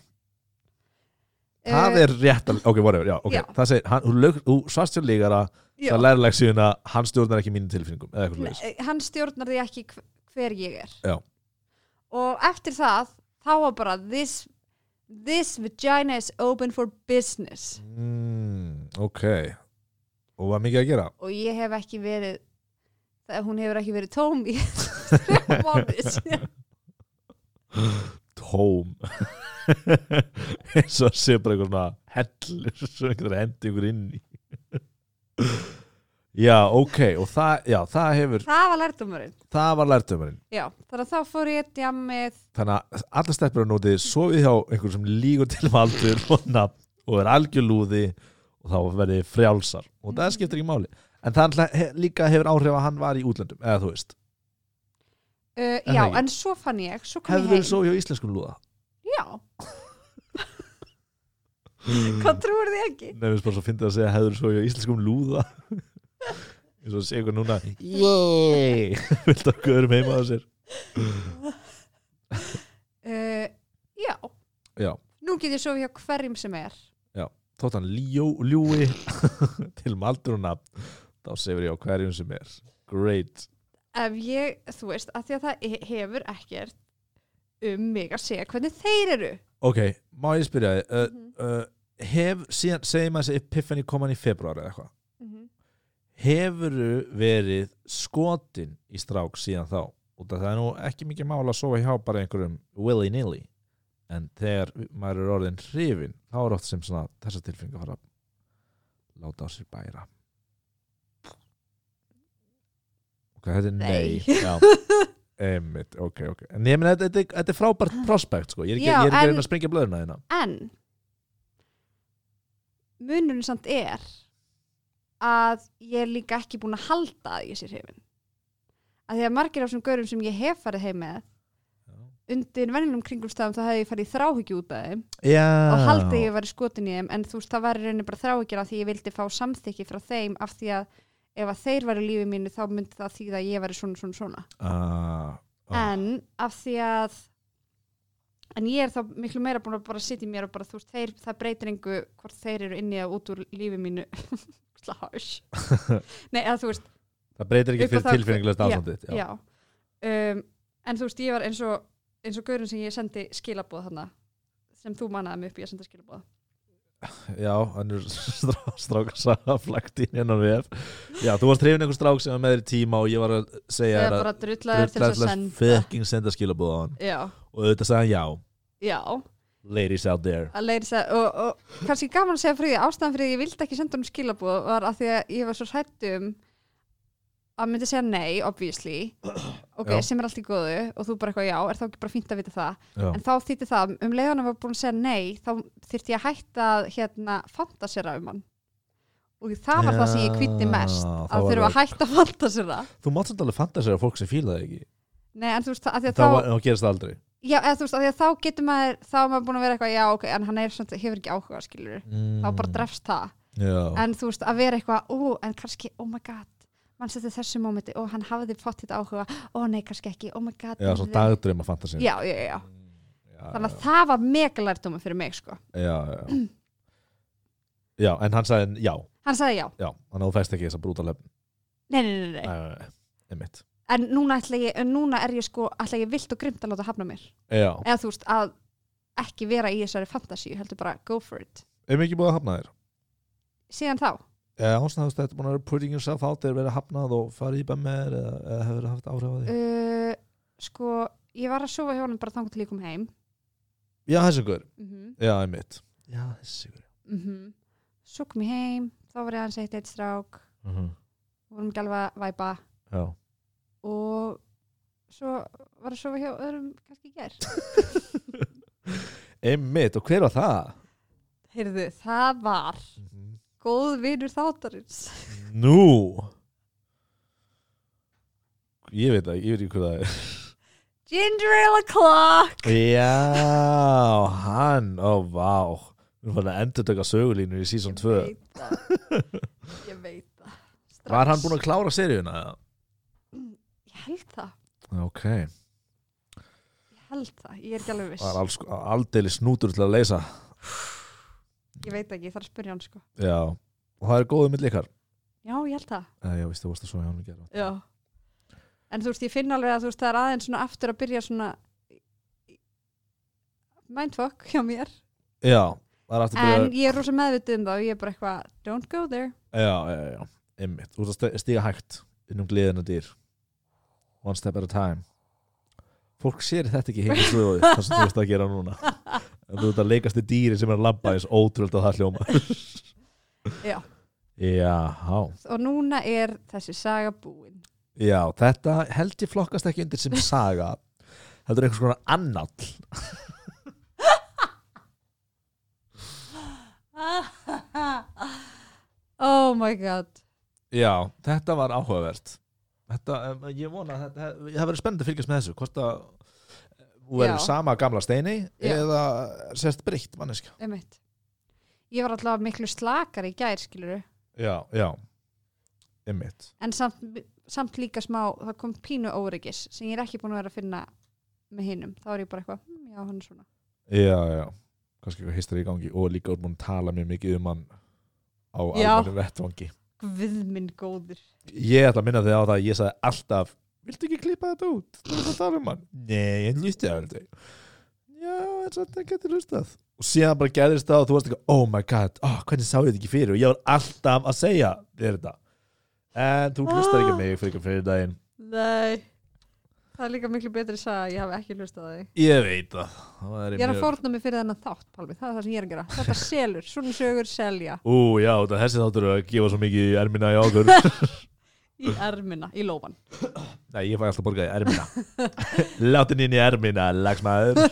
S1: það er rétt að- ok, whatever, já, ok,
S2: Eh, já.
S1: það segir hann, hún, lög, hún svarst sér líkara
S2: já,
S1: það læra leksíðun að hann stjórnar ekki mínum tilfinningum eða eitthvað leis
S2: ne- Eh, hann stjórnar því ekki hv- hver ég er
S1: Já.
S2: og eftir það þá var bara this, this vagina is open for business
S1: mm, ok og var mikið að gera
S2: og ég hef ekki verið það, hún hefur ekki verið tóm í þrjá mánuði síðan.
S1: tóm eins og að sé bara eitthvað svona hellur sem einhvern veginn hendi ykkur inn í já, ok og það, já, það hefur
S2: það var lærtumurinn
S1: það var lærtömarinn
S2: já, þannig að þá fór ég djammið
S1: þannig að allar stelpur að nóti sofið hjá einhverjum sem lígur til um aldur og nafn og er algjörlúði og þá verði frjálsar og það skiptir ekki máli en það náttúrulega he- líka hefur áhrif að hann var í útlöndum eða þú veist,
S2: uh,
S1: En
S2: já,
S1: það ekki.
S2: en svo fann ég svo kom
S1: hefur
S2: ég
S1: þú
S2: heim
S1: sofið hjá íslenskum lúða
S2: já, hvað trúir þið ekki
S1: nefnist bara svo fyndið að segja hefur svo í íslenskum lúða eins og að segja eitthvað núna yey, vilt að göðurum heima á sér
S2: uh, já,
S1: já,
S2: nú get ég sofið hjá hverjum sem er
S1: þótt hann ljó, ljúi til um aldur og nafn þá segir ég á hverjum sem er great,
S2: ef ég, þú veist, að því að það he- hefur ekkert um mig að segja hvernig þeir eru
S1: ok, má ég spyrja þið uh,
S2: Mhm.
S1: uh, hef, síðan, segjum að þessi epiphany kom hann í februar eða eitthvað
S2: Mhm.
S1: hefuru verið skotin í strák síðan þá út af það er nú ekki mikið mála að sofa hjá bara einhverjum willy-nilly en þegar maður er orðin hrifin þá er oft sem svona þessa tilfinningu fara að láta á sér bæra ok, þetta er nei,
S2: Nei.
S1: já Einmitt, ok, ok, en ég meina þetta, þetta, þetta er frábært prospekt sko, ég er ekki,
S2: Já,
S1: ég er ekki að
S2: en-
S1: reyna að hérna. springja blöðuna þína
S2: en munurinn samt er að ég er líka ekki búin að halda að ég sé hrifin að því að margir af þessum gaurum sem ég hef farið heim með undir venjulegum kringumstæðum þá hefði ég farið í þráhyggju út af þeim
S1: já,
S2: og haldið ég var í skotin í þeim en þú veist það var í rauninni bara þráhyggjan af því ég vildi fá samþykki frá þeim af því að ef að þeir var í lífi mínu þá myndi það þýða að ég var svona svona svona
S1: Ah, ah,
S2: en af því að en ég er þá miklu meira búin að bara sitja í mér og bara þú veist þeir, það breytir engu hvort þeir eru inni eða út úr lífi mínu slags nei eða þú veist,
S1: það breytir ekki
S2: upp á
S1: fyrir
S2: það-
S1: tilfinninglust
S2: Já,
S1: ástandið
S2: já, Um, en þú veist ég var eins og eins og gaurinn sem ég sendi skilaboð þarna sem þú mannaði mig upp í að senda skilaboð
S1: Já, hann er strá, strákarsaga flækt inn hennan vef Já, þú varst hrifin einhver strák sem var með þér í tíma og ég var að segja
S2: eða
S1: þér
S2: bara drullaður til þess að senda
S1: fucking senda skilabóð á hann
S2: já,
S1: og auðvitað sagði hann já,
S2: já,
S1: ladies out there
S2: að leiðis að og, og kannski gaman að segja fyrir því, ástæðan fyrir því ég vildi ekki senda hún skilaboð var að því að ég var svo hrætt um að hann myndi segja nei, obviously ok,
S1: Já.
S2: sem er allt í góðu og þú bara eitthvað já, er þá ekki bara fínt að vita það
S1: Já,
S2: en þá þýtti það, um leiðanum var búin að segja nei þá þyrfti ég að hætta að, hérna fantasera um hann og það var það sem ég kvitti mest
S1: Já, það
S2: að
S1: var
S2: þurfa að
S1: það.
S2: hætta að fantasera
S1: Þú mátt samt alveg fanta sér að fólk sem fíla það ekki
S2: nei, en þú veist, að því að
S1: Þá
S2: þá
S1: var- þá gerist það aldrei
S2: já, eða þú veist, af því að þá getur maður þá er maður búin að vera eitthvað, já, ok, en hann er svona, hefur ekki áhuga, skilur
S1: mm,
S2: þá bara drefst það,
S1: Já,
S2: en þú veist, að vera eitthvað ú, en kannski, oh my god mann setur þessu mómenti, ó, hann hafði fótt þetta áhuga ó, nei, kannski ekki, oh my god
S1: já svo dagdreima fanta sér
S2: já, já, já, já.
S1: já,
S2: þannig að það var mega lærtóma fyrir mig, sko,
S1: já, já. já, en hann sagði já,
S2: hann sagði já
S1: já, þannig að þú fæst ekki þess að brúta lefn
S2: nei, nei, nei, nei,
S1: Einmitt
S2: en núna ætla ég en núna er ég sko, ætla ég vilt og grimt að láta hafna mér,
S1: Já,
S2: eða þú veist, að ekki vera í þessari fantasíu, heldur bara go for it,
S1: ef ekki búið að hafna þér
S2: síðan þá
S1: Já, svona þú þetta búin að vera putting yourself out þegar verið hafnað og farið í bemmer eða, eða hefur verið haft áhrif á því
S2: uh, sko, ég var að sofa hjá honum bara þangur til ég kom heim
S1: Já, þessi ykkur,
S2: mm -hmm.
S1: já, einmitt Já, þessi ykkur
S2: Mhm. svo kom ég heim þá var ég aðeins eitt eitt strák
S1: uh -huh.
S2: vorum ekki alveg að væpa
S1: Já,
S2: og svo var að sofa hjá öðrum kannski ger
S1: einmitt, og hver var það?
S2: heyrðu, það var góð vinur þáttarins
S1: Nú Ég veit það, ég veit ekki hvað það er
S2: Ginger Ale O'Clock
S1: Já, hann, ó, vá Við erum fann að endur taka sögulínu í season 2
S2: Ég veit það Ég veit það Strax.
S1: Var hann búin að klára seríuna? eða?
S2: Ég held það
S1: Ok,
S2: Ég held það, ég er ekki alveg
S1: það er alls,
S2: viss
S1: aldeilis snútur til að leysa
S2: ég veit ekki, ég þarf að spyrja hann sko
S1: já, og það er góðu mill ykkar
S2: já, ég held það
S1: Eh, já, veist þú varst að svo hjá hann að gera
S2: já. en þú veist, ég finn alveg að þú veist, það er aðeins svona aftur að byrja svona mindfuck hjá mér
S1: já, það er aftur að
S2: en
S1: byrja
S2: ég er rosa meðvitið um það og ég er bara eitthvað don't go there
S1: já, já, já, já, einmitt, þú ert að stíga hægt inn um gleðina dýr one step at a time fólk sér þetta ekki heim í stuðuði það sem þú veist að gera núna en þú ert að leikast í dýri sem er að labba eins ótrúld að það hljóma
S2: Já.
S1: já,
S2: og núna er þessi saga búin
S1: já, þetta held ég flokkast ekki undir sem saga þetta er einhvers konar annall
S2: oh my god
S1: Já, þetta var áhugavert þetta, em, Ég vona að þetta það verður spennandi að fylgjast með þessu hvort að þú verður
S2: Já.
S1: sama gamla steini
S2: Já.
S1: eða sérst breytt manneska
S2: einmitt. ég var alltaf miklu slakar í gær skiluru
S1: Já, já Einmitt
S2: en samt, samt líka smá það kom pínu óryggis sem ég er ekki búin að vera að finna með hinnum, þá er ég bara eitthvað "Hmm, já, hann er svona
S1: Já, já, kannski eitthvað histar í gangi og líka úr múin tala mjög mikið um hann á
S2: Já.
S1: alveg vettvangi
S2: guðminn góður
S1: Ég ætla að minna þig á það að ég sagði alltaf Viltu ekki klippa þetta út? Þú ert að tala um hann Nei, ég hlusti á þetta Já, en samt það getur hlustað Og síðan bara gerðist það og þú varst ekki Oh my god, oh, hvernig sá ég þetta ekki fyrir Og ég var alltaf að segja þér þetta En þú hlustar ekki á mig fyrir fyrir daginn
S2: nei það er líka miklu betri sag að ég hafi ekki hlustað á þig
S1: Ég veit það Það er
S2: ég er að
S1: mjög-
S2: fórna mig fyrir þennan þátt Pálmi, það er það sem ég er að gera, þetta selur svona sögur selja
S1: Ú, já, þetta þessi þáttur að gefa svo mikið í ermina í águr
S2: í ermina, í lófan
S1: Nei, ég fæ alltaf borgað í ermina Látin inn í ermina, lagsmaður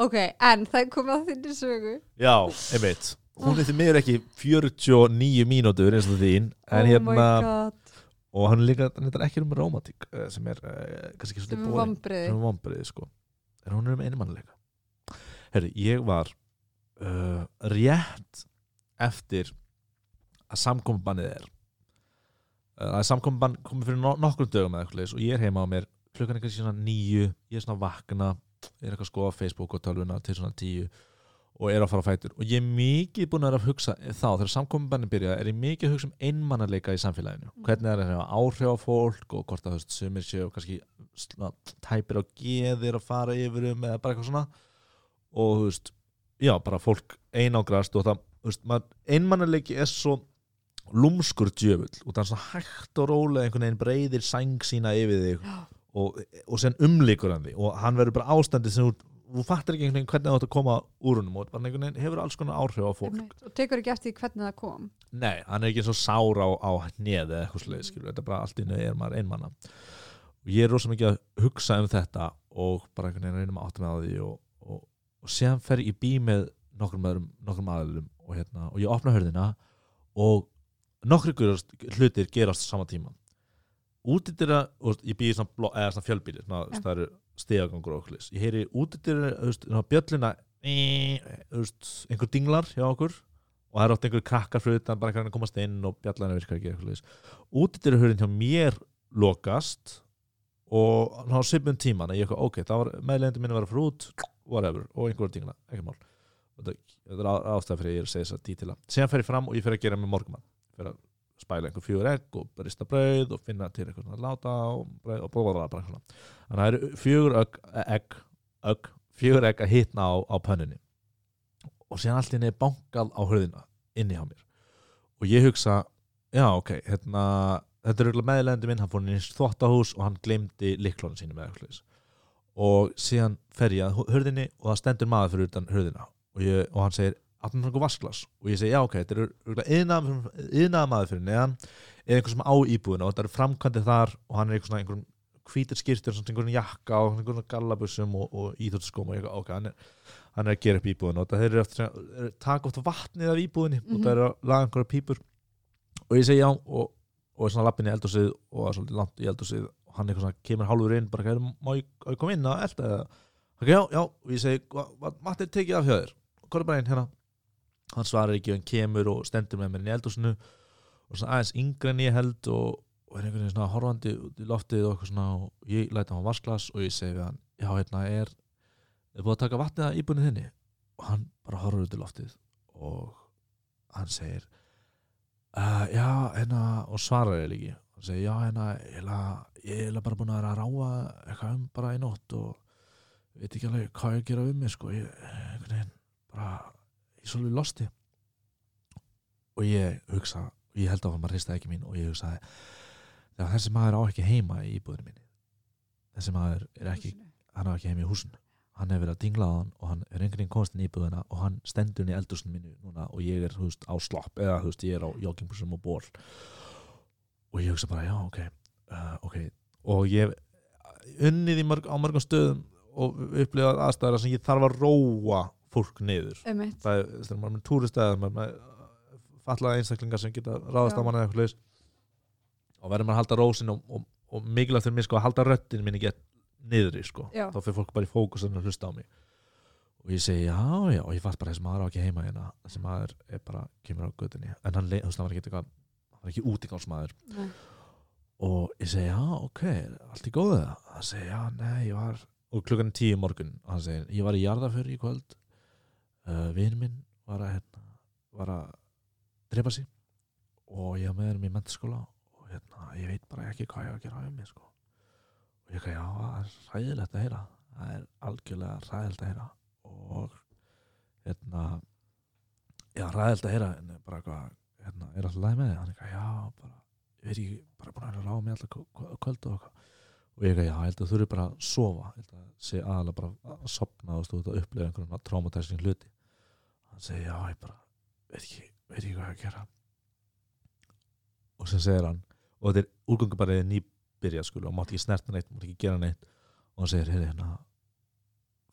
S2: ok, en það er komið að þinni sögu
S1: Já, einmitt Hún er því miður ekki 49 mínútur eins og þín En hérna
S2: Oh god,
S1: Og hann er líka, hann er ekki um rómatík eh, Sem er uh, kannski ekki
S2: um
S1: svolítið bóðin
S2: vambriði
S1: Sem er vombriði sko En hún er um einmannleika Herri, ég var uh, rétt eftir að samkombannið er Eh, Það er samkombann komið fyrir no nokkrum dögum eða eitthvað leis og ég er heima á mér klukkan er kannski svona nýju, ég er svona að vakna ég er eitthvað að skoða Facebook og tölvuna til svona tíu og er að fara á fætur og ég er mikið búin að vera að hugsa þá þegar samkombannið byrja er ég mikið að hugsa um einmannarleika í samfélaginu hvernig er það að áhrif á fólk og hvort að þú veist sumir séu kannski svona tæpir á geðir að fara yfir um eða bara eitthvað svona og þú veist, já bara fólk einangrast og það, þú veist, maður, einmannarleiki er svo lúmskur djöfull og það er svona hægt og rólega einhvern veginn breyðir sæng sína yfir þig og, og sen umlikur hann því og hann verður bara ástandið sem þú, þú fattir ekki einhvern veginn hvernig þú átt að koma úr húnum og bara einhvern veginn hefur alls konar áhrif á fólk
S2: Einmitt, og tekur ekki eftir því hvernig það kom
S1: Nei, hann er ekki eins og sár á, á hnið eða eitthvað slegið, skilur, þetta er bara allt innu er maður einmanna og ég er rosa mikið að hugsa um þetta og bara einhvern veginn reynum að átta með á því og, og, og séðan fer ég í bí með nokkrum, öðrum, nokkrum aðlum og, hérna, og ég opna hörðina og nokkri gerast- hlutir gerast á sama tíma útidýra, og ég býði svona, bló- eða svona fjölbýli svona,
S2: Já.
S1: það eru stegagangur og okkur ég heyri útidýra, þú veist, svona bjöllina í, þú veist, einhver dinglar hjá okkur og það er átt einhver krakkar fyrir utan bara eitthvað að komast inn og bjallana virkar ekki eitthvað leis útidýra hjá mér lokast og hann á svipum tíma þannig að ég eitthvað, ok, það var meðlegindu mín að vera fyrir út whatever, og einhverjum dingla, ekki mál þetta þetta er á- ástæða fyrir að ég er að segja þess að dítila síðan fer ég fram og ég fer að gera með morgumann fer að spæla einhver fjögur egg og brista brauð og finna til eitthvað svona láta og brauð og blablabla bara svona þannig að það eru fjögur egg, egg, egg fjögur egg að hitna á, á pönninni og síðan allt inni er bankað á hurðina inni hjá mér og ég hugsa, já ok hérna, þetta er auðvitað meðlegendi minn hann fór inn í þvottahús og hann glemdi liklónu sínu með eitthvað leis og síðan fer ég að hu- hurðinni og það stendur maður fyrir utan hurðina og, ég, og hann segir, að hann einhver vasklas og ég segi, já ok, þetta er yðnaða maður fyrir neðan eða einhver sem á íbúðina og þetta er framkvæmdi þar og hann er einhver svona einhverjum hvítir skýrtur, svona einhverjum jakka og einhverjum svona gallabussum og, og íþjóttaskóm og ég, ok, hann er, hann er að gera upp íbúðina og það er eftir að taka oft vatnið af íbúðinni og
S2: Mhm.
S1: það er að laga einhverja pípur og ég segi já og, og er svona lappin í eldhúsið og það er svolítið langt í eldhúsið og hann eitthvað svona kemur hálfur inn bara, "Hvað er- má ég, á ég koma inn að elda eða ok, já, já, og ég segi, "Hva- hvað Matti tekið af hjá þér, hvað er bara inn hérna hann svarar ekki, hann kemur og stendur með mér inn í eldhúsinu og svona aðeins yngri en ég held og, og er einhvern veginn svona horfandi út í loftið og okkur svona og ég læta hann vasklas og ég segi við hann já hérna er, er búið að taka vatnið að íbúinu þinni og hann bara horfur út í loftið og hann segir uh, já hérna og svarar ég líki hann segir já hérna ég er eiginlega bara búin að vera að ráfa eitthvað um bara í nótt og veit ekki alveg hvað ég að gera við mig sko ég einhvern veginn bara ég er svolítið losti og ég hugsa og ég held á hann bara hrista ekki mín og ég hugsaði þegar þessi maður á ekki heima í íbúðinu minni þessi maður er ekki, hann á ekki heima í húsinu hann hefur verið að dingla á hann og hann er einhvern veginn komast inn í íbúðina og hann stendur inn í eldursunum minni núna og ég er þú veist á slopp eða þú veist ég er á joggingbúsum og ból og ég hugsa bara já ok uh, ok og ég hef unnið í mörg, á mörgum stöðum og upplifað aðstæðara sem ég þarf að róa fólk niður
S2: einmitt,
S1: það er, þegar maður er með túristæði maður er með fallaða einstaklingar sem geta ráðast á
S2: Já.
S1: manni eða eitthvað leis og verður maður að halda rósin og, og, og mikilvægt fyrir mér sko að halda röttin minni gett niður í sko
S2: Já.
S1: þá fyrir fólk bara í fókus að hlusta á mig og ég segi já, já, og ég fatt bara þessi maður á ekki heima hérna þessi maður er bara, kemur á göttinni en hann, leit- þú veist, hann var ekki, eitthvað- hann var ekki útigangsmaður
S2: Nei.
S1: og ég segi, já, ok, er allt í góðu hann segi, já, nei, ég var og klukkan tíu morgun, hann segi, ég var í jarðaför í kvöld uh, vinn minn var að, hérna, var að drepa sig og ég var með þeim í mentaskóla og hérna, ég veit bara ekki hvað ég á að gera um mig sko. og ég ekki, já, það er ræðilegt að heyra það er algjörlega ræðilegt að heyra og hérna já, ræðilegt að heyra en bara hvað, hérna, er alltaf læg með þig hann ekki, já, bara ég veit ekki, bara búin að vera að ráða mig alltaf kvö- kvö- kvöld og eitthvað og ég ekki, já, ég held að þú eru bara að sofa ég held að sé aðalega bara að sopna og stóðu að upplifa einhverjum traumatizing hluti hann segi, já, ég bara veit ekki, veit ekki hvað ég á að gera og sem segir hann og þetta er úrgöngu bara eða nýbyrja skulu og mátt ekki snerta neitt, mátt ekki gera neitt og hann segir, heyrðu hérna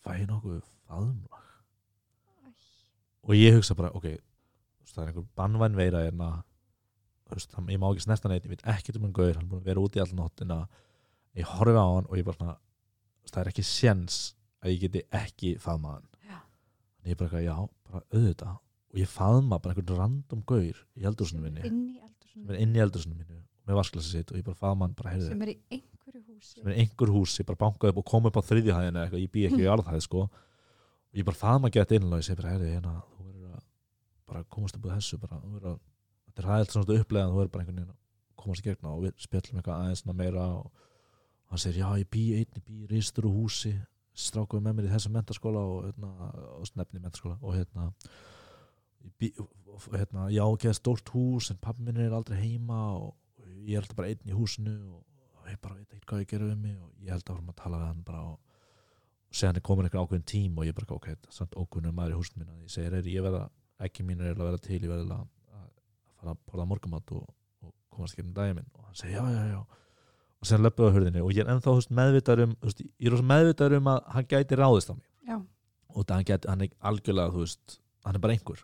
S1: fæ ég nokkuð faðumlag og ég hugsa bara, ok þú veist, það er einhver bannvæn veira hérna þú veist, hann, ég má ekki snerta neitt, ég veit ekkert um hann gaur, hann er búin að vera úti í all nóttina ég horfi á hann og ég bara svona þú veist, það er ekki séns að ég geti ekki faðma hann
S2: Já.
S1: en ég bara eitthvað, já, bara auðvitað og ég faðma bara einhvern random gaur í eldursunum minni,
S2: inn í
S1: sem
S2: eldursunum
S1: er inn í eldursunum minni og með vasklasa sitt og ég bara faðma hann bara heyrðu,
S2: sem er í einhverju húsi
S1: sem er einhver húsi, bara bankaði upp og kom upp á þriðjuhæðina eitthvað, ég bý ekki í alðhæð sko og ég bara faðum að geta innlega, ég segi bara herri, hérna, þú verður að bara komast upp úr þessu, bara, þú verður að þetta er hæðilt svona upplegað, þú verður bara einhvern veginn að komast í gegna og við spjallum eitthvað aðeins svona meira og hann segir, já, ég bý einn, ég bý í ristur og húsi strákuði með mér í þessum mentaskóla og, hérna, og snefni mentaskóla og hérna ég bý, og, hérna, já, ekki stórt hús en pappi minn er aldrei heima og, og ég er alltaf bara einn í húsinu og, og ég bara veit ekkert hvað ég gera við mig og ég held að vorum að tala við hann bara og, og segja hann er komin eitthvað ákveðin tím og ég bara ok, þetta er samt ókunnum maður í húsinu mín að ég segir, er, ég verða, ekki mín er eiginlega að vera til, ég verða að að fara að borða morgumat og, og komast ekki um daginn minn og hann segir, já, já, já og segja hann löppuðu á hurðinni og ég er ennþá þú veist, meðvitaður um, þú veist, ég er rosa meðvitaður um að hann gæti ráðist á mig
S2: já,
S1: og það hann, get, hann er algjörlega þú veist, hann er bara einhver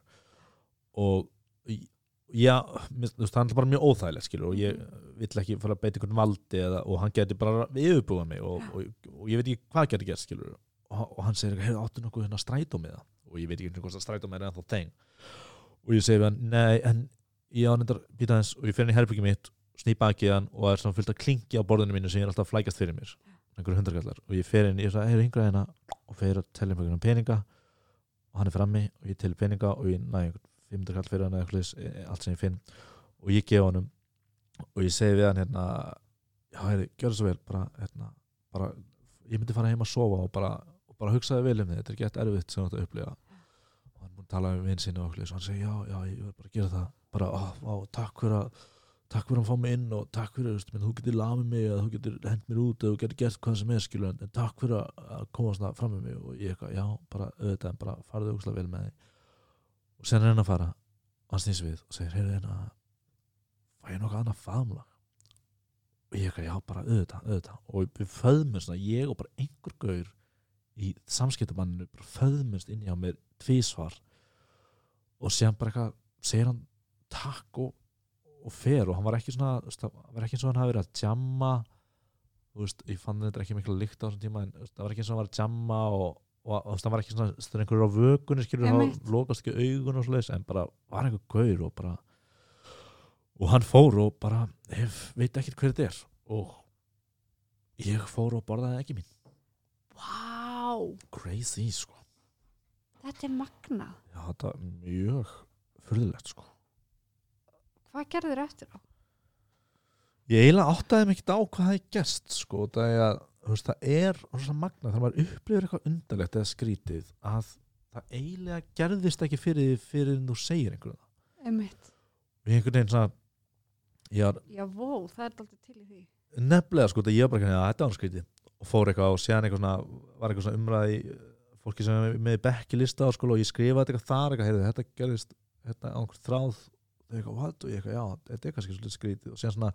S1: og í- já, mér- þú veist, hann er bara mjög óþægilegt skilur og ég vill ekki fara að beita einhvern valdi eða, og hann geti bara yfirbúið mig og, og, og, ég veit ekki hvað geti gert skilur og, hann- og hann segir, hefur áttu nokkuð hérna strætó með það og ég veit ekki hvort það strætó með það ennþá þeng og ég segi við hann, nei, en ég ánendar býta hans og ég fer hann í herbyggi mitt snýpa ekki hann og það er svona fullt að klingi á borðinu mínu sem ég er alltaf að flækast fyrir mér einhverju hundarkallar og ég fer inn, ég er svona, heyr hingra hérna og fer að telja einhverjum peninga og hann er frammi og ég telja peninga og ég næ einhvern 500 kall fyrir hann eða eitthvað svoleiðis, eh, allt sem ég finn og ég gef honum og ég segi við hann hérna já, heyrðu, gjör það svo vel bara, hérna, bara, ég myndi fara heim að sofa og bara, og bara hugsaði vel um þig, þetta er gett erfitt sem þú átt að upplega og hann búin að tala um vinn sinni og okkur og hann segi já, já, ég verð bara að gera það bara, á, á, takk fyrir að takk fyrir að fá mig inn og takk fyrir, veist, menn, þú getur lamið mig eða þú getur hent mér út eða þú getur gert hvað sem er skilur en, en takk fyrir að- að koma svona fram með mig og ég eitthvað, já, bara auðvitað en bara farðu úkslega vel með þig og sen er hann að fara og hann snýs við og segir, heyrðu hérna fæ ég nokkuð annað faðmla og ég eitthvað, já, bara auðvitað, auðvitað og við föðmumst svona, ég og bara einhver gaur í samskiptamanninu bara föðmumst inn hjá mér tvísvar og séðan bara eitthvað segir hann takk og og fer og hann var ekki svona þú veist, það var ekki eins og hann hafi verið að jamma þú veist, ég fann þetta ekki mikla lykt á þessum tíma en þú veist, það var ekki eins og hann var að jamma og, og þú veist, hann var ekki svona, þú veist, þegar einhverjur á vökunni skilur, hann
S2: Einmitt.
S1: lokast ekki augun og svoleiðis en bara var einhver gaur og bara og hann fór og bara hef, veit ekkert hver þetta er og ég fór og borðaði ekki mín
S2: Vá,
S1: crazy sko
S2: þetta er magna
S1: já þetta er mjög furðulegt sko
S2: Hvað gerður eftir á?
S1: ég eiginlega áttaði mig ekki á hvað það er gerst sko það er, veist, það er rosa magna þegar maður upplifir eitthvað undarlegt eða skrítið að það eiginlega gerðist ekki fyrir því fyrir en þú segir einhverjum það.
S2: Einmitt.
S1: og ég einhvern veginn svona ég var
S2: Já, vó, það er aldrei til í því
S1: nefnilega sko þetta ég var bara ekki að þetta var nú skrítið og fór eitthvað og séðan eitthvað svona var eitthvað svona umræði fólki sem er með bekkilista og sko og ég skrifaði eitthvað þar eitthvað heyrðu þetta gerðist hérna á einhver þráð þau eitthvað what og ég eitthvað já þetta er kannski svolítið skrítið og séðan svona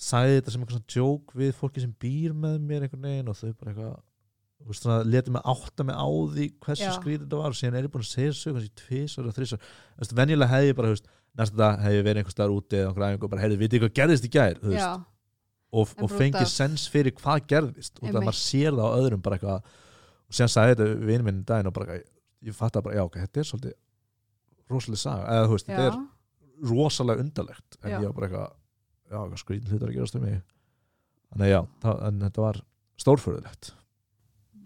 S1: sagði þetta sem eitthvað svona joke við fólki sem býr með mér einhvern veginn og þau bara eitthvað þú veist svona letið mig átta mig á því hversu
S2: Já.
S1: skrítið þetta var og síðan er ég búin að segja þessu kannski tvisar og þrisar þú veist venjulega hefði ég bara þú veist næsta dag hefði ég verið einhvers staðar úti eða einhver æfingu og bara heyrðu vitið þið hvað gerðist í gær þú veist
S2: Já,
S1: og,
S2: En
S1: og
S2: bara út
S1: fengið
S2: af-
S1: sens fyrir hvað gerðist og það
S2: Einmitt.
S1: maður sér það á öðrum bara eitthvað og síðan sagði þetta vinur minn í daginn og bara eitthvað, ég fatt að bara, já ok, þetta er svolítið rosalega saga, eða þú veist,
S2: já,
S1: þetta er rosalega undarlegt en
S2: Já.
S1: ég var bara eitthvað, já, eitthvað skrýtin hlutur að gerast um mig þannig að já, það, en þetta var stórförðulegt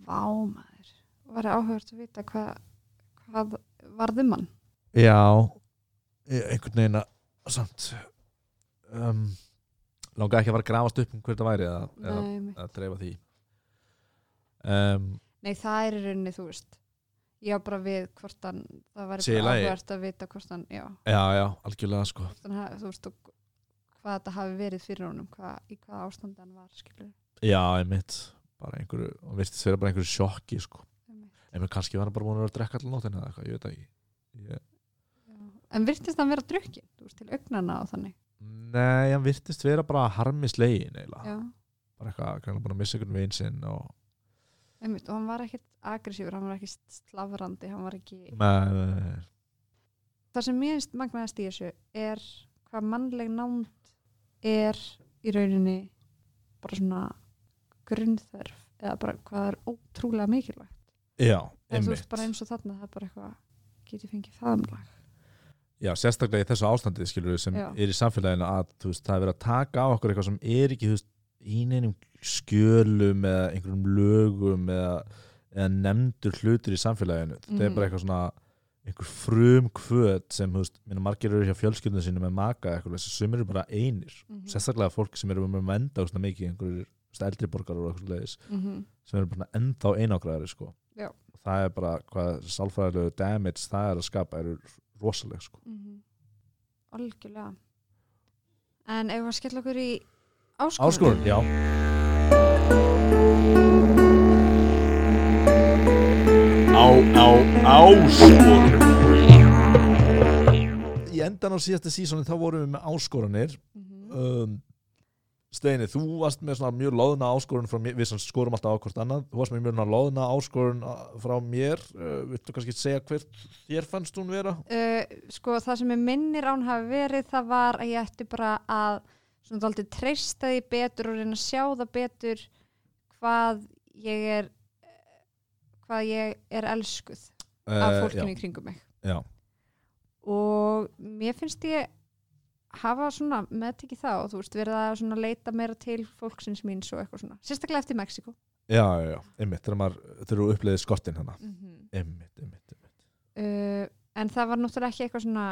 S2: vá maður Var áhugast að vita hvað, hvað um varði mann
S1: já, ég- einhvern veginn að samt um, langaði ekki að fara að grafast upp um hver þetta væri eða, eða,
S2: Nei, einmitt.
S1: eða dreifa því um,
S2: Nei, það er í rauninni, þú veist Já, bara við hvort hann Það var
S1: Sé í
S2: bara
S1: lagi.
S2: áhugast að vita hvort hann Já,
S1: já, já, algjörlega sko
S2: hvort hann, hafi- þú veist og hvað þetta hafi verið fyrir honum hvað, í hvaða ástandi hann var, skilur
S1: Já, einmitt bara einhverju, og virtist vera bara einhverju sjokki sko. en kannski var hann bara búin að vera að drekka allan nótina eða eitthvað, ég veit það ekki ég...
S2: En virtist hann vera drukkin, þú veist, til augnana og þannig
S1: Nei, hann virtist vera bara harmislegin eiginlega,
S2: Já,
S1: bara eitthvað, kannski búin að missa einhvern veginn sinn og
S2: einmitt, og hann var ekkit agressífur, hann var ekki slavrandi, hann var ekki
S1: með, með,
S2: það sem mér finnst magnaðast í þessu er hvað mannleg nánd er í rauninni bara svona grunnþörf eða bara hvað er ótrúlega mikilvægt
S1: Já,
S2: eða þú veist
S1: einmitt
S2: bara eins og þarna það er bara eitthvað get ég fengið faðumlag
S1: Já, sérstaklega í þessu ástandið skilur sem
S2: Já.
S1: er í samfélaginu að þú veist, það er verið að taka á okkur eitthvað sem er ekki þú veist, í neinum skjölum eða einhverjum lögum eða, eða nefndur hlutur í samfélaginu þetta er
S2: Mhm.
S1: bara eitthvað svona einhver frum kvöt sem þú veist, minna margir eru hjá fjölskyldunum sínum með maka eða eitthvað, sem eru bara einir
S2: mm
S1: sérstaklega fólk sem eru með venda og svona mikið einhverjir þú veist, eldri borgarar og eitthvað leiðis
S2: Mhm.
S1: sem eru bara ennþá einangraðari sko.
S2: Já.
S1: og það er bara hvað sálfræðilegu damage það er að skapa eru rosaleg sko.
S2: Mhm. algjörlega en eigum við að skella okkur í áskorun,
S1: Áskorun, já
S3: á, á, áskorun
S1: Í endan á síðasta sísoni þá vorum við með áskoranir
S2: Mhm.
S1: um, Steini, þú varst með svona mjög loðna áskorun frá mér, við sem skorum alltaf á hvort annað þú varst með mjög loðna áskorun uh, frá mér uh, viltu kannski segja hvert þér fannst hún vera?
S2: uh, sko það sem ég minnir án hafi verið það var að ég ætti bara að svona þáldi treysta því betur og reyna að sjá það betur hvað ég er eh, hvað ég er elskuð af fólkinu í kringum mig
S1: Uh, Eh, já, já,
S2: og mér finnst ég hafa svona meðtekið það og þú veist verið að svona leita meira til fólksins míns og eitthvað svona, sérstaklega eftir Mexiko
S1: já, já, já, einmitt þegar maður þurfa að uppleiði skottin hana
S2: mm -hmm.
S1: einmitt, einmitt, einmitt
S2: uh, en það var náttúrulega ekki eitthvað svona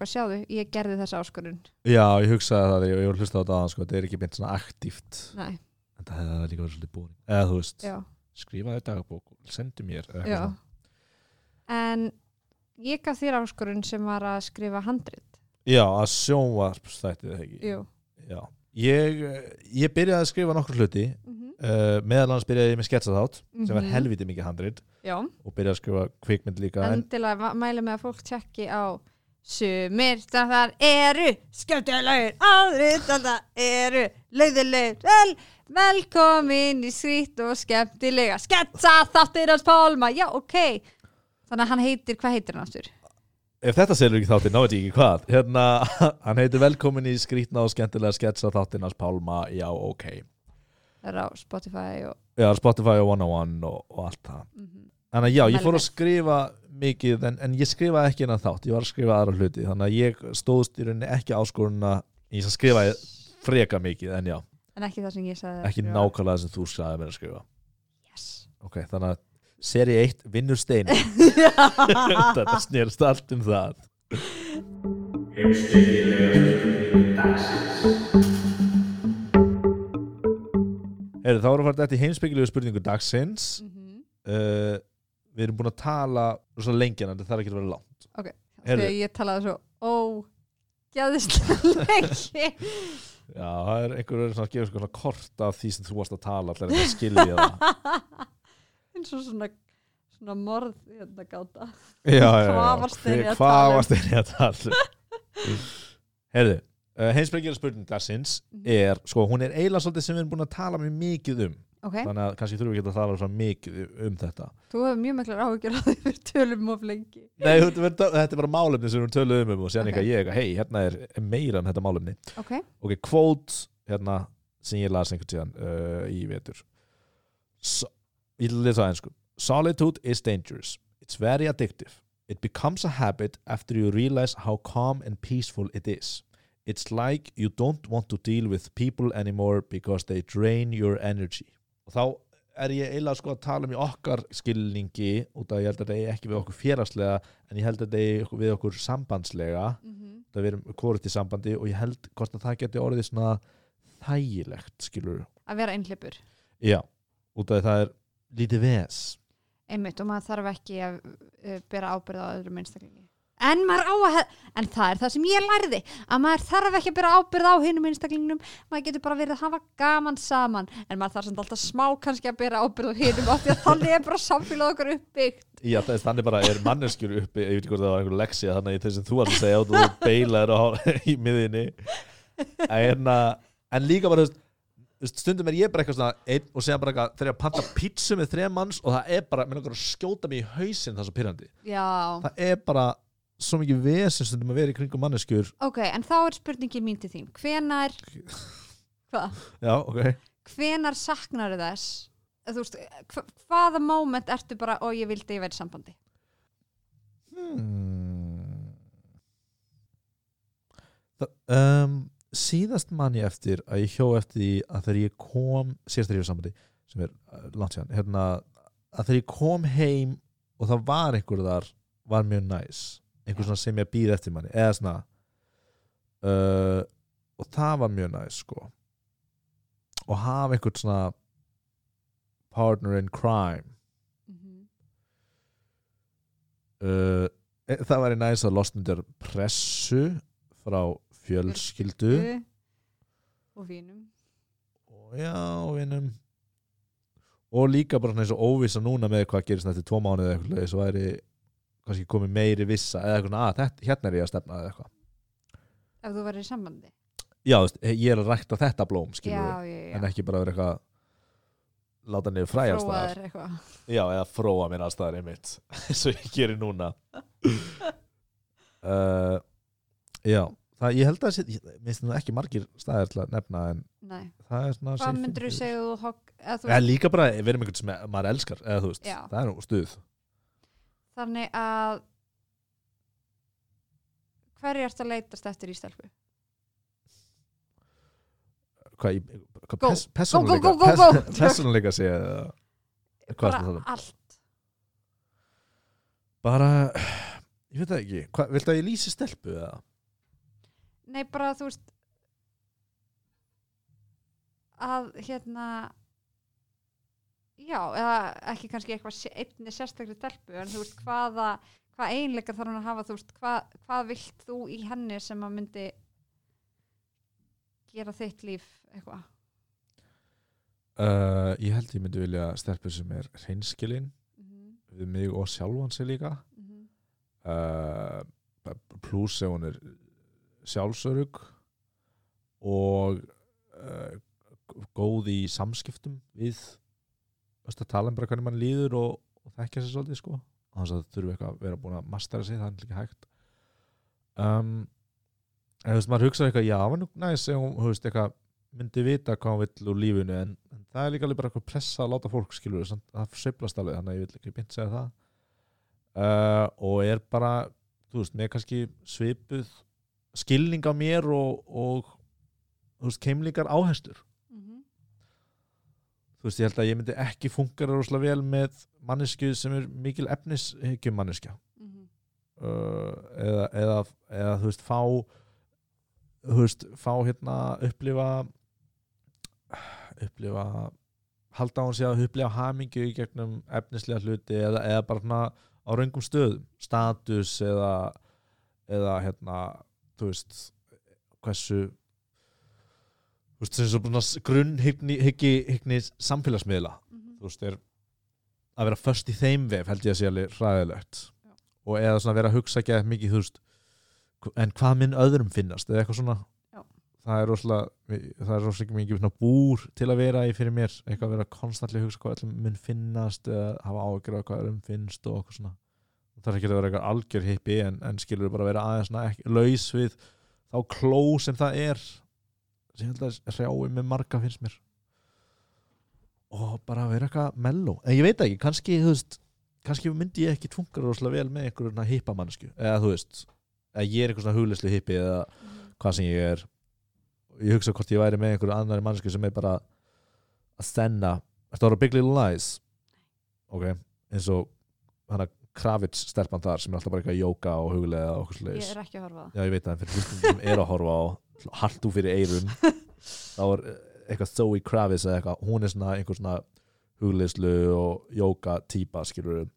S2: hvað sjáðu, ég gerði þessa áskorun
S1: Já, ég hugsaði það, ég, ég var að hlusta á þetta aðan sko, þetta er ekki beint svona aktíft
S2: Nei,
S1: en það hefði líka verið svolítið búin eða þú veist,
S2: já
S1: skrifaði dagbók sendu mér eða eitthvað
S2: Já.
S1: svona.
S2: En ég gaf þér áskorun sem var að skrifa handrit.
S1: já, að sjónvarpstætti það ekki
S2: Jú.
S1: Já, ég, ég byrjaði að skrifa nokkur hluti uh, meðal annars byrjaði ég með sketsaþátt sem var
S2: Mhm.
S1: helviti mikið handrit
S2: Já.
S1: og byrjaði að skrifa kvikmynd líka en,
S2: Endilega ma- mæli með að fólk tjekki á sumir sem þar eru skemmtilegir, aðrir sem þar eru leiðilegir, vel velkomin í skrýtt og skemmtilega sketsa þáttir hans Pálma já ok, þannig að hann heitir hvað heitir hann aftur?
S1: ef þetta selur ekki þáttinn, þá veit ég ekki hvað hérna, hann heitir velkomin í skrítna og skemmtilega sketsaþáttinn hans Pálma, já ok
S2: Það er á Spotify og
S1: já, Spotify og 101 og, og allt það
S2: mhm,
S1: þannig að já, ég
S2: Mæli
S1: fór
S2: með.
S1: að skrifa mikið en, en ég skrifaði ekki hennar þátt, ég var að skrifa aðra hluti þannig að ég stóðst í rauninni ekki áskorunna ég skrifaði freka mikið en já,
S2: en ekki það sem ég sagði
S1: ekki nákvæmlega sem þú sagði mér að skrifa
S2: yes.
S1: ok, þannig að seri 1 vinnur stein þetta snerist allt um það Heyrðu, þá erum við að fara þetta í heimspekilegu spurningu dagsins
S2: mm -hmm.
S1: uh, við erum búin að tala svo lengi en þetta þarf ekki að vera langt
S2: Ok.
S1: Heyrðu,
S2: ég talaði svo ógæðislega lengi
S1: já, það er einhver verið svona að gefa svona kort af því sem þú varst að tala allar þetta skilja það
S2: eins og svona, svona morð hérna gáta
S1: já, já, já.
S2: Hvað varst þeirri að
S1: Hver-
S2: tala
S1: hvað
S2: um?
S1: varst þeirri að tala um? herðu uh, heimspekilegu spurningu dagsins er sko, hún er eiginlega svolítið sem við erum búin að tala mjög mikið um
S2: Mhm. ok,
S1: þannig að kannski þurfum við ekki að tala svona mikið um þetta
S2: þú hefur mjög miklar áhyggjur á því við tölum of lengi
S1: Nei, þetta er bara- þetta er bara málefni sem við töluðum um og séðan
S2: Ok.
S1: okay. ég, hei, hérna er meira um þetta málefni
S2: ok,
S1: ok, kvót hérna sem ég las einhvern tíðan uh, í vetur so, ég ætla að lesa aðeins sko solitude is dangerous, it's very addictive it becomes a habit after you realize how calm and peaceful it is it's like you don't want to deal with people anymore because they drain your energy og þá er ég eiginlega sko að tala um í okkar skilningi út af ég held að þetta er ekki við okkur félagslega en ég held að þetta er við okkur sambandslega það við erum hvort í sambandi og ég held hvort að það geti orðið svona þægilegt skilur
S2: að vera einhleipur
S1: já, út af því það er lítið ves
S2: einmitt og maður þarf ekki að uh, bera ábyrð á öðrum einstaklingi en maður á að hef- en það er það sem ég lærði að maður þarf ekki að bera ábyrð á hinnum einstaklingnum maður getur bara verið að hafa gaman saman en maður þarf samt alltaf smá kannski að bera ábyrð á hinnum af því að þannig er bara samfélag okkar uppbyggt
S1: já, þess, þannig bara er manneskjur uppi ég veit ekki hvort það var einhver leksi þannig að þess sem þú varst að segja og þú beilaðir á, í miðinni en, hérna, en líka bara þú veist, þú veist, stundum er ég bara eitthvað svona einn og segja bara eitthvað þegar ég panta pítsu með þrejum manns og það er bara, mér langar að skjóta mig í hausinn það er svo pyrrandi,
S2: já,
S1: það er bara svo mikið vesen stundum að vera í kringum manneskjur
S2: ok, en þá er spurningin mín til þín hvenar hvað?
S1: já, ok
S2: hvenar saknar þess þú veist, hva, hvaða moment ertu bara og ég vildi ég verið sambandi
S1: Hmm. Þa- Um, síðast man ég eftir að ég hjó eftir því að þegar ég kom síðast þegar ég var í sambandi sem er uh, langt séðan hérna, að þegar ég kom heim og það var einhver þar var mjög næs einhver svona sem ég býr eftir manni eða svona uh, og það var mjög næs sko og hafa einhvern svona partner in crime
S2: Mhm.
S1: uh, e- það væri næst að losnundar pressu frá fjölskyldu
S2: og vínum
S1: og já, vinum og líka bara svona eins og óvissa núna með hvað gerist nætti tvo mánuði eða eitthvað svo væri kannski komið meiri vissa eða eitthvað, að þetta, hérna er ég að stefna eða eitthvað
S2: ef þú verið í sambandi
S1: já, þú veist, eh, ég er að rækta þetta blóm skilur
S2: já, já, já,
S1: en ekki bara vera eitthvað láta niður fræja alls staðar.
S2: Prófaðir eitthvað
S1: Já, eða fróa mér aðstæðar einmitt eins og ég gerir núna uh, Já, það, ég held að sé- ég- mér finnst nú ekki margir staðir til að nefna en
S2: Nei.
S1: það er svona
S2: hvað myndir þú segja þú, hogg, eða þú
S1: Eða líka bara verið með einhvern sem maður elskar eða þú veist,
S2: Já.
S1: það er nú stuð
S2: þannig að hverju ert að leitast eftir í stelpu
S1: Hvað, ég- hvað
S2: Go.
S1: pers,
S2: go,
S1: persónuleika
S2: go, go, go.
S1: pers- persónuleika sé eða- Hvað er
S2: bara
S1: það?
S2: allt
S1: um? Bara, ég veit það ekki hvað, Viltu að ég lýsi stelpu eða?
S2: nei bara þú veist að hérna já eða ekki kannski eitthvað sé- einni sérstakri stelpu en þú veist hvaða hvað eiginleika þarf hún að hafa þú veist hvað, hvað vilt þú í henni sem að myndi gera þitt líf eitthvað
S1: Uh, ég held ég myndi vilja stelpu sem er reynskilin
S2: mm
S1: við mig og sjálfan sig líka
S2: -hmm.
S1: uh, pluss ef hún er sjálfsörug og uh, góð í samskiptum við öst að tala um bara hvernig mann líður og, og þekkja sér svolítið sko þannig að það þurfi eitthvað að vera búin að mastera sig það er líka hægt um, en þú veist maður hugsaði eitthvað já, það var nú næs ef hún þú veist, eitthvað myndi vita hvað hún vill úr lífinu en, en það er líka alveg bara eitthvað pressa að láta fólk skilur það sveiflast alveg þannig að ég vil ekki beint segja það uh, og er bara þú veist, með kannski svipuð skilning á mér og, og þú veist, keimlingar áherslur
S2: Mhm.
S1: þú veist, ég held að ég myndi ekki funkara rosalega vel með mannesku sem er mikil efnishyggjum manneskja
S2: Mhm.
S1: uh, eða, eða, eða þú veist, fá þú veist, fá hérna upplifa upplifa halda á hún sé að upplifa hamingju í gegnum efnislega hluti eða, eða bara svona á raungum stöðum status eða eða hérna, þú veist hversu þú veist, sem svo svona grunnhyggni hyggi, hygni samfélagsmiðla
S2: Mhm.
S1: þú veist, er að vera först í þeim vef held ég að sé alveg hræðilegt
S2: Já.
S1: og eða svona vera að hugsa ekki að mikið þú veist, hv- en hvað minn öðrum finnast eða eitthvað svona
S2: Já.
S1: það er rosalega, það er rosalega mikið svona búr til að vera í fyrir mér eitthvað að vera konstantlega að hugsa hvað öllum mun finnast eða hafa ágjörð hvað öðrum finnst og eitthvað svona það er ekki að vera eitthvað algjör hippi en, en skilur bara að vera aðeins svona ekki, laus við þá kló sem það er sem ég held að hrjái með marga finnst mér og bara vera eitthvað melló en ég veit ekki, kannski, þú veist kannski myndi ég ekki tunga rosalega vel með einhverjum hippamannsku, eða þú veist eða ég er einhver svona hugleyslu hippi eða
S2: Mhm.
S1: hvað sem ég er ég hugsa hvort ég væri með einhverju annari mannsku sem er bara að stenna Þetta voru Big Little Lies ok, eins og hana Kravitz stelpan þar sem er alltaf bara eitthvað að jóka og huglega og okkur
S2: ég
S1: slags
S2: er ekki að horfa á það
S1: Já, ég veit það, en fyrir hlustum sem er að horfa á Haltu fyrir eirun Þá er eh, eitthvað Zoe Kravitz eða eitthvað Hún er svona einhver svona hugleyslu og jóka típa skilur og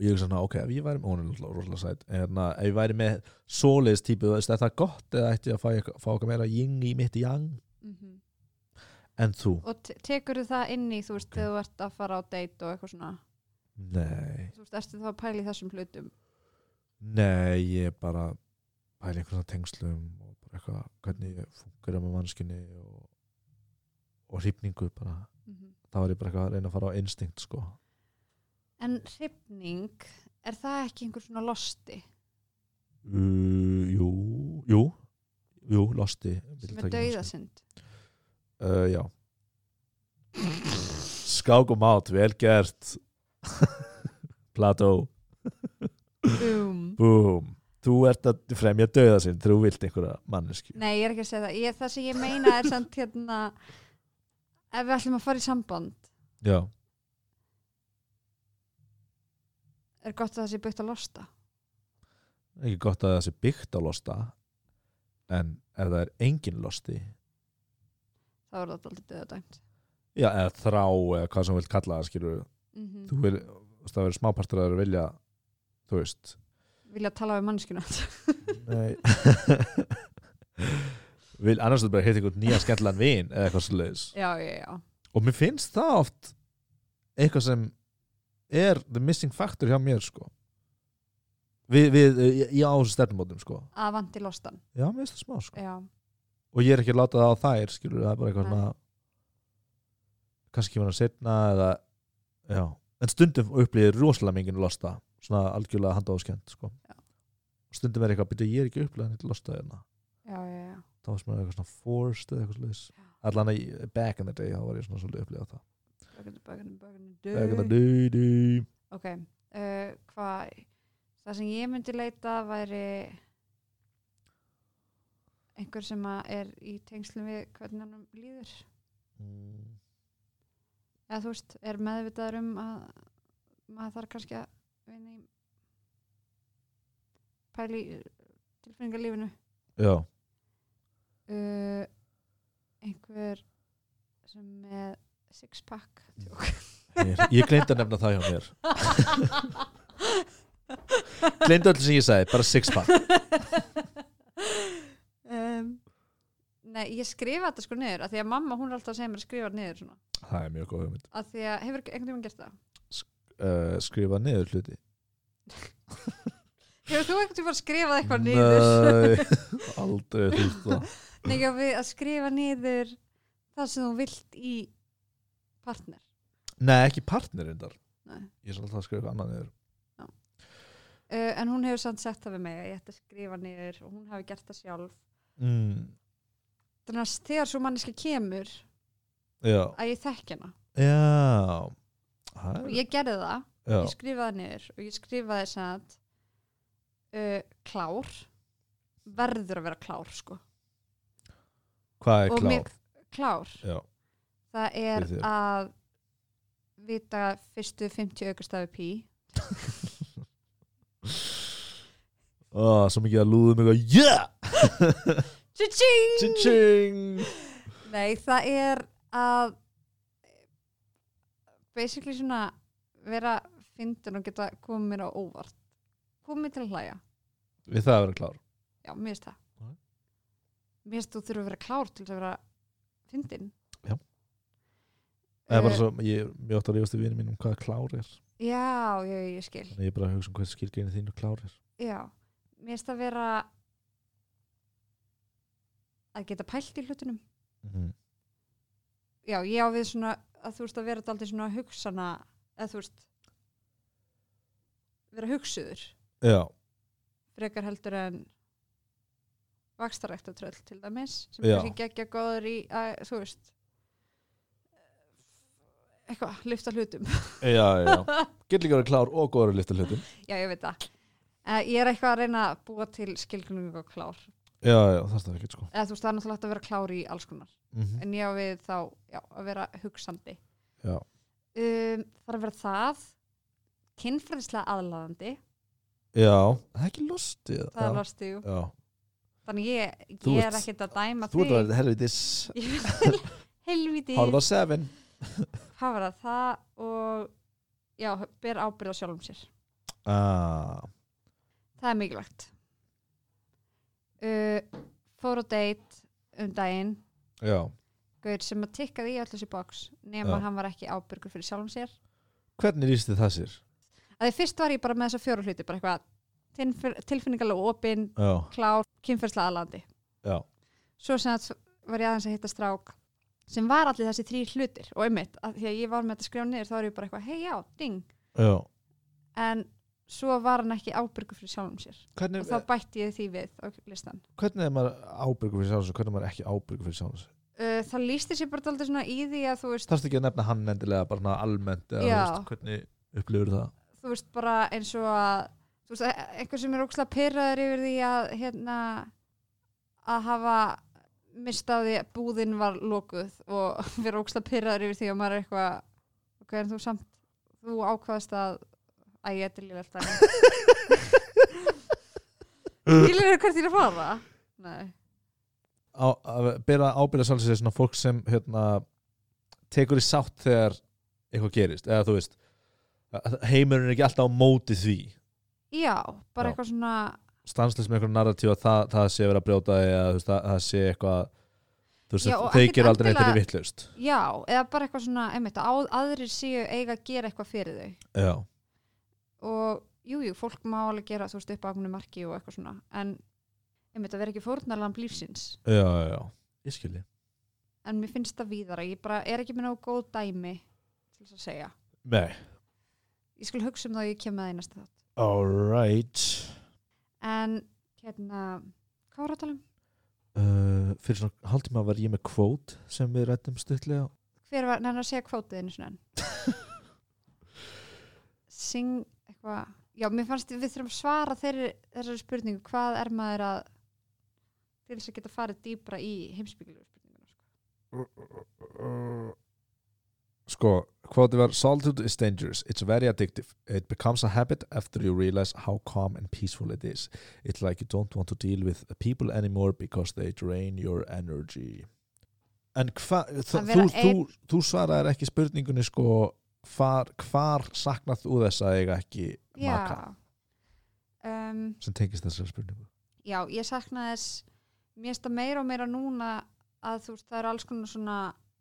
S1: ég er svona, ok, ef ég væri hún er náttúrulega rosalega sætt en hérna, ef ég væri með svoleiðis típu þú veist, er það gott eða ætti ég að fá, eitthvað- fá eitthvað meira ying í mitt yang
S2: Mhm.
S1: en þú?
S2: og tekur það inn í þú veist þegar þú ert að fara á date og eitthvað svona
S1: Nei,
S2: þú veist, ertu þá að pæla í þessum hlutum
S1: nei, ég bara pæli einhverjum tengslum og bara eitthvað, hvernig ég fungur með mannskinni og, og hrifningu bara
S2: Mhm.
S1: þá er ég bara eitthvað að reyna að fara á instinkt sko.
S2: en hrifning, er það ekki einhver svona losti
S1: uh, jú, jú jú, losti
S2: sem er dauðasind
S1: uh, já skák og mát, vel gert Plató
S2: um.
S1: búm, þú ert að fremja dauða sinn þegar þú vilt einhverja mannesku
S2: nei, ég er ekki að segja það ég, það sem ég meina er samt hérna ef við ætlum að fara í samband
S1: já,
S2: er gott að það sé byggt að losta
S1: ekki gott að það sé byggt á losta en ef það er engin losti
S2: þá er það aldrei döðadæmt
S1: já, eða þrá eða hvað sem þú vilt kalla það skilur
S2: mm
S1: þú vil, þú veist, það verður smápartur að vilja þú veist
S2: vilja tala við mannskina
S1: Nei Vil annars þú bara heita einhvern nýja skemmtlan vin eða eitthvað sliðis
S2: já, já, já
S1: og mér finnst það oft eitthvað sem er the missing factor hjá mér sko við, við eh, ég- ég á þessu stefnumótum sko
S2: að vandi lostan
S1: já, mér finnst það smá sko
S2: já.
S1: og ég er ekki að láta það á þær skilur það er bara eitthvað
S2: Nei.
S1: svona kannski kemur hann setna eða já, en stundum upplýðir rosalega mingin losta, svona algjörlega handa áskend sko
S2: Já.
S1: stundum er eitthvað, byrja ég er ekki upplýðin eitt losta hérna
S2: já, já, já
S1: þá varst maður eitthvað svona forced eða eitthvað sliðis allan að ég- back in the day þá var ég svona svolítið upplifað það
S2: Böggunni, böggunni, böggunni,
S1: back in the
S2: döð
S1: day day
S2: ok uh, hvað það sem ég myndi leita væri einhver sem að er í tengslum við hvernig hann líður
S1: Mm,
S2: eða þú veist, er meðvitaður um að maður þarf kannski að vinna í pæli tilfinningarlífinu
S1: já,
S2: uh, einhver sem með six pack
S1: ég, ég gleymdi að nefna það hjá mér gleymdi öll sem ég sagði, bara six pack
S2: um, Nei, ég skrifa þetta sko niður af því að mamma hún er alltaf að segja mér að skrifa niður svona.
S1: það er mjög góð hugmynd
S2: af því að hefur einhvern tímann gert það
S1: uh, skrifa niður hluti
S2: Hefur þú einhvern tímann skrifað eitthvað niður?
S1: Nei, aldrei þurft það
S2: Nei, já, við að skrifa niður það sem þú vilt í partner
S1: Nei, ekki partnerinn þar
S2: Nei.
S1: Ég er svolítið að skrifa eitthvað annað niður
S2: uh, en hún hefur samt sett það við mig að ég ætti að skrifa niður og hún hafi gert það sjálf
S1: mm,
S2: þannig að þegar svo manneski kemur
S1: Já,
S2: að ég þekk hana
S1: já Það er-
S2: ég gerði það
S1: já,
S2: ég skrifaði niður og ég skrifaði sem að uh, klár verður að vera klár sko
S1: hvað er
S2: og
S1: klár?
S2: mér- klár,
S1: Já,
S2: það
S1: Fyrir
S2: er
S1: þér.
S2: að vita fyrstu 50 aukastafi pí
S1: Ó, svo mikið að lúðum eitthvað Yeah!
S2: Tjá-tjing!
S1: Tjing!
S2: Nei, það er að basically svona vera fyndin og geta komið mér á óvart komið mér til að hlæja,
S1: Við það að vera klár
S2: já, mér finnst það
S1: Mhm.
S2: mér finnst þú þurfa að vera klár til þess að vera fyndin
S1: Já. Það er bara
S2: Eh,
S1: svo, ég er mjög átt að rífast í vinið mínum um hvað klár er
S2: Já, já, ég skil
S1: Þannig að ég er bara að hugsa um hvað skilgeinu þínu klár er
S2: Já, mér finnst það vera að geta pælt í hlutunum
S1: mm.
S2: já, ég á við svona að þú veist að vera daldið svona hugsana eða þú veist vera hugsuður
S1: Já,
S2: frekar heldur en vakstarækta tröll til dæmis sem
S1: Já.
S2: já. kannski geggja góður í að, þú veist eitthvað, lyfta hlutum
S1: já, já Get líka að vera klár og góður að lifta hlutum
S2: já, ég veit það uh, ég er eitthvað að reyna að búa til skilgrunningu og klár
S1: Já, já, það er það ekki sko
S2: eða þú veist, það er náttúrulega hægt að vera klár í alls konar
S1: mm
S2: en ég á við þá, já, að vera hugsandi
S1: Já,
S2: um, þarf að vera það kynfræðislega aðlaðandi
S1: já, það er ekki lostið
S2: það
S1: já.
S2: er lastið, jú
S1: Já,
S2: þannig ég,
S1: Þú
S2: ég er
S1: ert-
S2: ekkert að dæma
S1: þú ert að
S2: þig
S1: vera helvitis
S2: Ég vil- helviti,
S1: Hálfa seven
S2: hvað var það það og já, ber ábyrð á sjálfum sér
S1: ah.
S2: það er mikilvægt uh, fór á date um daginn
S1: Já,
S2: gaur sem að tikkaði í öll þessi box nema
S1: Já.
S2: hann var ekki ábyrgur fyrir sjálfum sér
S1: hvernig rýsti það sér?
S2: að því fyrst var ég bara með þessa fjóru hluti bara eitthvað tilfin- tilfinningalega opinn
S1: Já,
S2: klár, kynferðslega aðlandi
S1: já,
S2: svo sem að var ég aðeins að hitta strák sem var allir þessi þrý hlutir og einmitt, að því að ég var með þetta skrifa niður þá er ég bara eitthvað, hei já, ding
S1: já
S2: en svo var hann ekki ábyrgur fyrir sjálfum sér
S1: Hvernig,
S2: og þá bætti ég því við á listan
S1: hvernig er maður ábyrgur fyrir sjálfum sér, hvernig er maður ekki ábyrgur fyrir sjálfum sér
S2: uh, það lísti sér bara daldið svona í því að þú veist,
S1: þarfst ekki að nefna hann endilega bara svona almennt eða þú
S2: Já.
S1: veist, hvernig upplifur það
S2: þú veist bara eins og að þú veist, e- einhver sem er ókslega pyrraður yfir því að hérna að hafa mistaði að búðin var lokuð og vera ókslega pyrraður yfir því að maður er eitthvað ok, en þú samt, þú ákvaðast að að ég er lýlega alltaf Skilur þér hvert þín að fara? Nei,
S1: á, að bera ábyrða sjálfum sér svona fólk sem hérna, tekur í sátt þegar eitthvað gerist eða þú veist að- að heimurinn er ekki alltaf á móti því
S2: já, bara
S1: Já.
S2: eitthvað svona
S1: stanslis með eitthvað narratíf að það, það sé verið að brjóta þig eða þú veist, það, það sé eitthvað þú veist,
S2: Já,
S1: að
S2: og
S1: þau
S2: ekkert
S1: ger aldrei neitt
S2: endilega-
S1: þeirri vittlust
S2: já, eða bara eitthvað svona, einmitt, að aðrir séu eiga að gera eitthvað fyrir þau
S1: já,
S2: og jújú, jú, fólk má alveg gera þú veist upp á ákveðnu marki og eitthvað svona en einmitt að vera ekki fórnarlamb lífsins
S1: já, já, já, ég skilji
S2: en mér finnst það víðara, ég bara er ekki með nógu góð dæmi til þess að segja
S1: nei,
S2: ég skil hugsa um það að ég kem með það í næsta þátt
S1: alright
S2: en hérna, hvað var að tala um?
S1: uh, fyrir svona haldtíma var ég með kvót sem við rættum stuttlega
S2: hver var, neina að segja kvótið einu svona enn sing eitthvað já, mér fannst við þurfum að svara þeirri, þessari spurningu hvað er maður að til þess að geta farið dýpra í heimsbyggilegu spurningu sko.
S1: sko, quote var solitude is dangerous, it's very addictive it becomes a habit after you realize how calm and peaceful it is it's like you don't want to deal with people anymore because they drain your energy en hvað þú,
S2: Að
S1: þú,
S2: vera
S1: þú, þú svaraðir ekki spurningunni sko hvar, hvar saknað þú þess að eiga ekki maka
S2: já um,
S1: sem tengist þessari spurningu
S2: já, ég sakna þess mér finnst það meira og meira núna að þú veist, það eru alls konar svona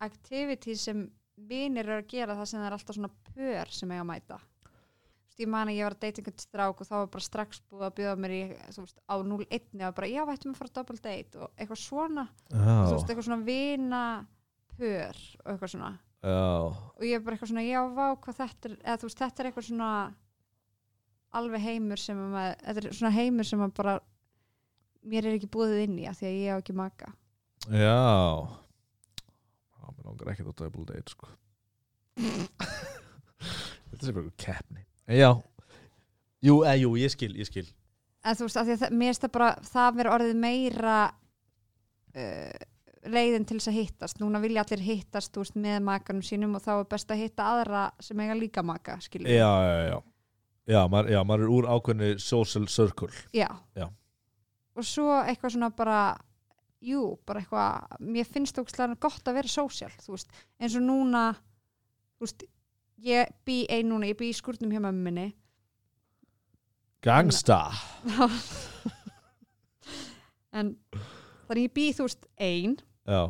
S2: activity sem vinir eru að gera það sem það er alltaf svona pör sem eiga að mæta Þú veist, ég man að ég var að deyta einhvern strák og þá var bara strax búið að bjóða mér í, þú veist, á 0-1 og bara, já, vættum að fara á double date og eitthvað svona, þú veist,
S1: já,
S2: eitthvað svona vina pör og eitthvað svona
S1: já,
S2: og ég er bara eitthvað svona, já, vá, hvað þetta er eða þú veist, þetta er eitthvað svona alveg heimur sem að maður þetta er svona heimur sem að bara mér er ekki búið inn í að því að ég á ekki maka
S1: Já Já, mér langar ekki á double date sko Þetta er bara eitthvað keppni Já Jú, eða, jú, ég skil, ég skil
S2: en þú veist, af því að það- mér finnst það bara það verið orðið meira uh, leiðin til þess að hittast núna vilja allir hittast, þú veist, með makanum sínum og þá er best að hitta aðra sem eiga líka maka, skilur
S1: Já, já, já Já, maður, já, maður er úr ákveðni social circle
S2: Já.
S1: Já.
S2: og svo eitthvað svona bara jú, bara eitthvað, mér finnst ókslega gott að vera sósjál, þú veist eins og núna, þú veist ég bý ein núna, ég bý í skurnum hjá mömmu minni
S1: Gangsta
S2: en þannig ég bý, þú veist, ein
S1: Já,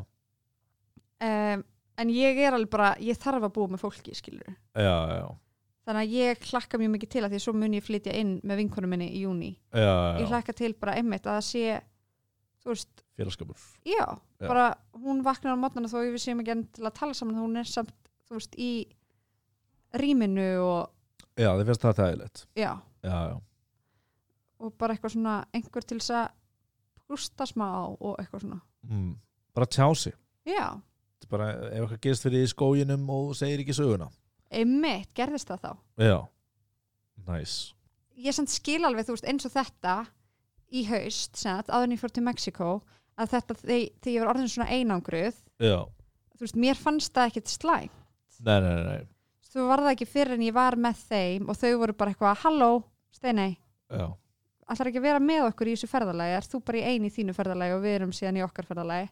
S2: um, en ég er alveg bara, ég þarf að búa með fólki, skilur
S1: já, já
S2: þannig að ég hlakka mjög mikið til að því að svo mun ég flytja inn með vinkonum minni í júni
S1: Já, já,
S2: ég
S1: já,
S2: hlakka til bara einmitt að það sé þú veist,
S1: félagskapur
S2: já,
S1: Já.
S2: bara hún vaknar á mótnana þó við séum ekki enn til að tala saman hún er samt, þú veist, í rýminu og,
S1: Já, þið finnst það þægilegt
S2: já
S1: Já, já,
S2: og bara eitthvað svona, einhver til þess að hlusta smá og eitthvað svona
S1: mm. bara tjá sig
S2: já,
S1: Þetta er bara, ef eitthvað gerist fyrir því í skóginum og þú segir ekki söguna
S2: einmitt, gerðist það þá
S1: Já, nice
S2: ég samt skil alveg, þú veist, eins og þetta í haust, sagt, áður en ég fór til Mexiko að þetta, þeg- þegar ég var orðin svona einangruð
S1: Já,
S2: þú veist, mér fannst það ekkit slæm
S1: nei, nei, nei, nei.
S2: þú var það ekki fyrir en ég var með þeim og þau voru bara eitthvað, halló, steinei
S1: Já,
S2: allar ekki að vera með okkur í þessu ferðalagi er þú bara í einu í þínu ferðalagi og við erum síðan í okkar ferðalagi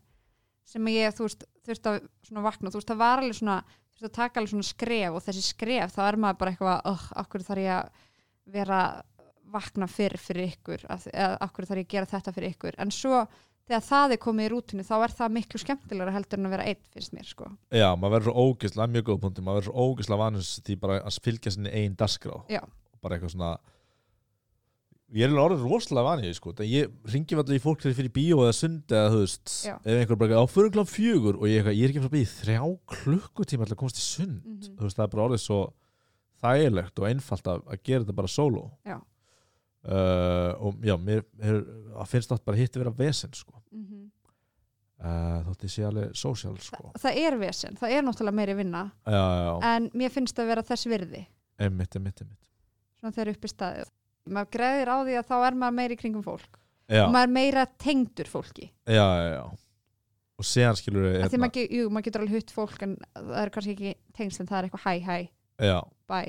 S2: sem ég, þú veist, þurft að svona vakna, þú veist, það var alveg svona þurft að taka alveg svona skref og þessi skref þá er maður bara eitthvað, ögh, okkur þarf ég að vera vakna fyrr fyrir ykkur, af- eða okkur þarf ég að gera þetta fyrir ykkur, en svo þegar það er komið í rútinu þá er það miklu skemmtilegra heldur en að vera einn, finnst mér, sko
S1: já, maður verður svo ógeðslega, það er mjög góð punkti maður verður svo ógeðslega vanins því bara að fylgja sinni einn dagskrá
S2: Já.
S1: bara eitthvað svona ég er alveg orðin rosalega vanið, sko en ég ringi alltaf í fólk þegar ég fyrir bíó eða sund eða, þú veist,
S2: Já.
S1: ef einhver bara á fyrir klán fjögur og ég, eitthvað, ég er ekki frá að býja þrjá klukkutíma alltaf að komast í sund
S2: Mhm.
S1: þú veist, það er bara orðið svo þægilegt og einfalt að, að gera þetta bara solo
S2: Já.
S1: Uh, og já, mér er, að finnst það bara hitt að vera vesen sko. uh, þótt ég sé alveg sósjál sko.
S2: það er vesen, það er náttúrulega meiri vinna
S1: já, já, já,
S2: en mér finnst það vera þess virði
S1: einmitt, einmitt, einmitt
S2: svona þegar upp í staðið maður greiðir á því að þá er maður meira í kringum fólk
S1: já,
S2: og maður er meira tengdur fólki
S1: já, já, já og séðan skilur við
S2: af því
S1: hérna,
S2: maður, ge- jú, maður getur alveg hutt fólk en það er kannski ekki tengsl en það er eitthvað hæ hæ
S1: já,
S2: bæ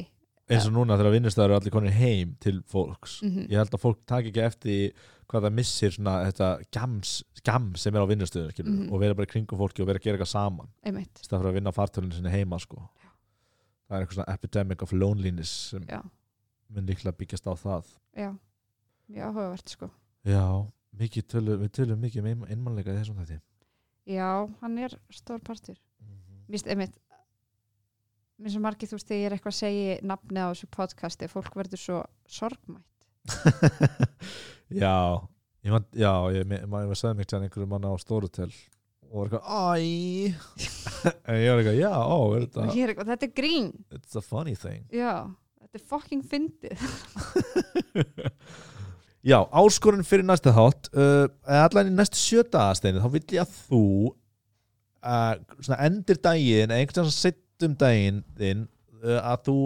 S1: eins og núna þegar vinnustæður eru allir konir heim til fólks
S2: mm -hmm.
S1: ég held að fólk taki ekki eftir í hvað það missir svona þetta gams, gam sem er á vinnustöðun skilur
S2: Mhm.
S1: og vera bara í kringum fólki og vera að gera eitthvað saman í
S2: einmitt
S1: stað fyrir að vinna á fartölinu sinni heima sko. það er eitthvað svona epidemic of loneliness sem
S2: Já.
S1: mun líklega byggjast á það
S2: já, mjög áhugavert sko
S1: já, mikið tölum, við tölum mikið um ein- einmanleika í þessum þetta
S2: já, hann er stór partur Vist, einmitt mér svo margir þú veist þegar ég er eitthvað að segja nafni á þessu podcasti, fólk verður svo sorgmætt
S1: já ég man, já, ég, ég, ég var sæðið mig til einhverju manna á Storutel og var eitthvað, æ en ég var eitthvað, já, ó, er
S2: og
S1: þetta
S2: ég er eitthvað, þetta er grín
S1: it's a funny thing
S2: já, þetta er fucking fyndið
S1: já, áskorun fyrir næsta þátt uh, eða allan í næstu sjötaðasteinu þá vil ég að þú uh, svona endir daginn eða einhvern veginn sittum um daginn þinn, uh, að þú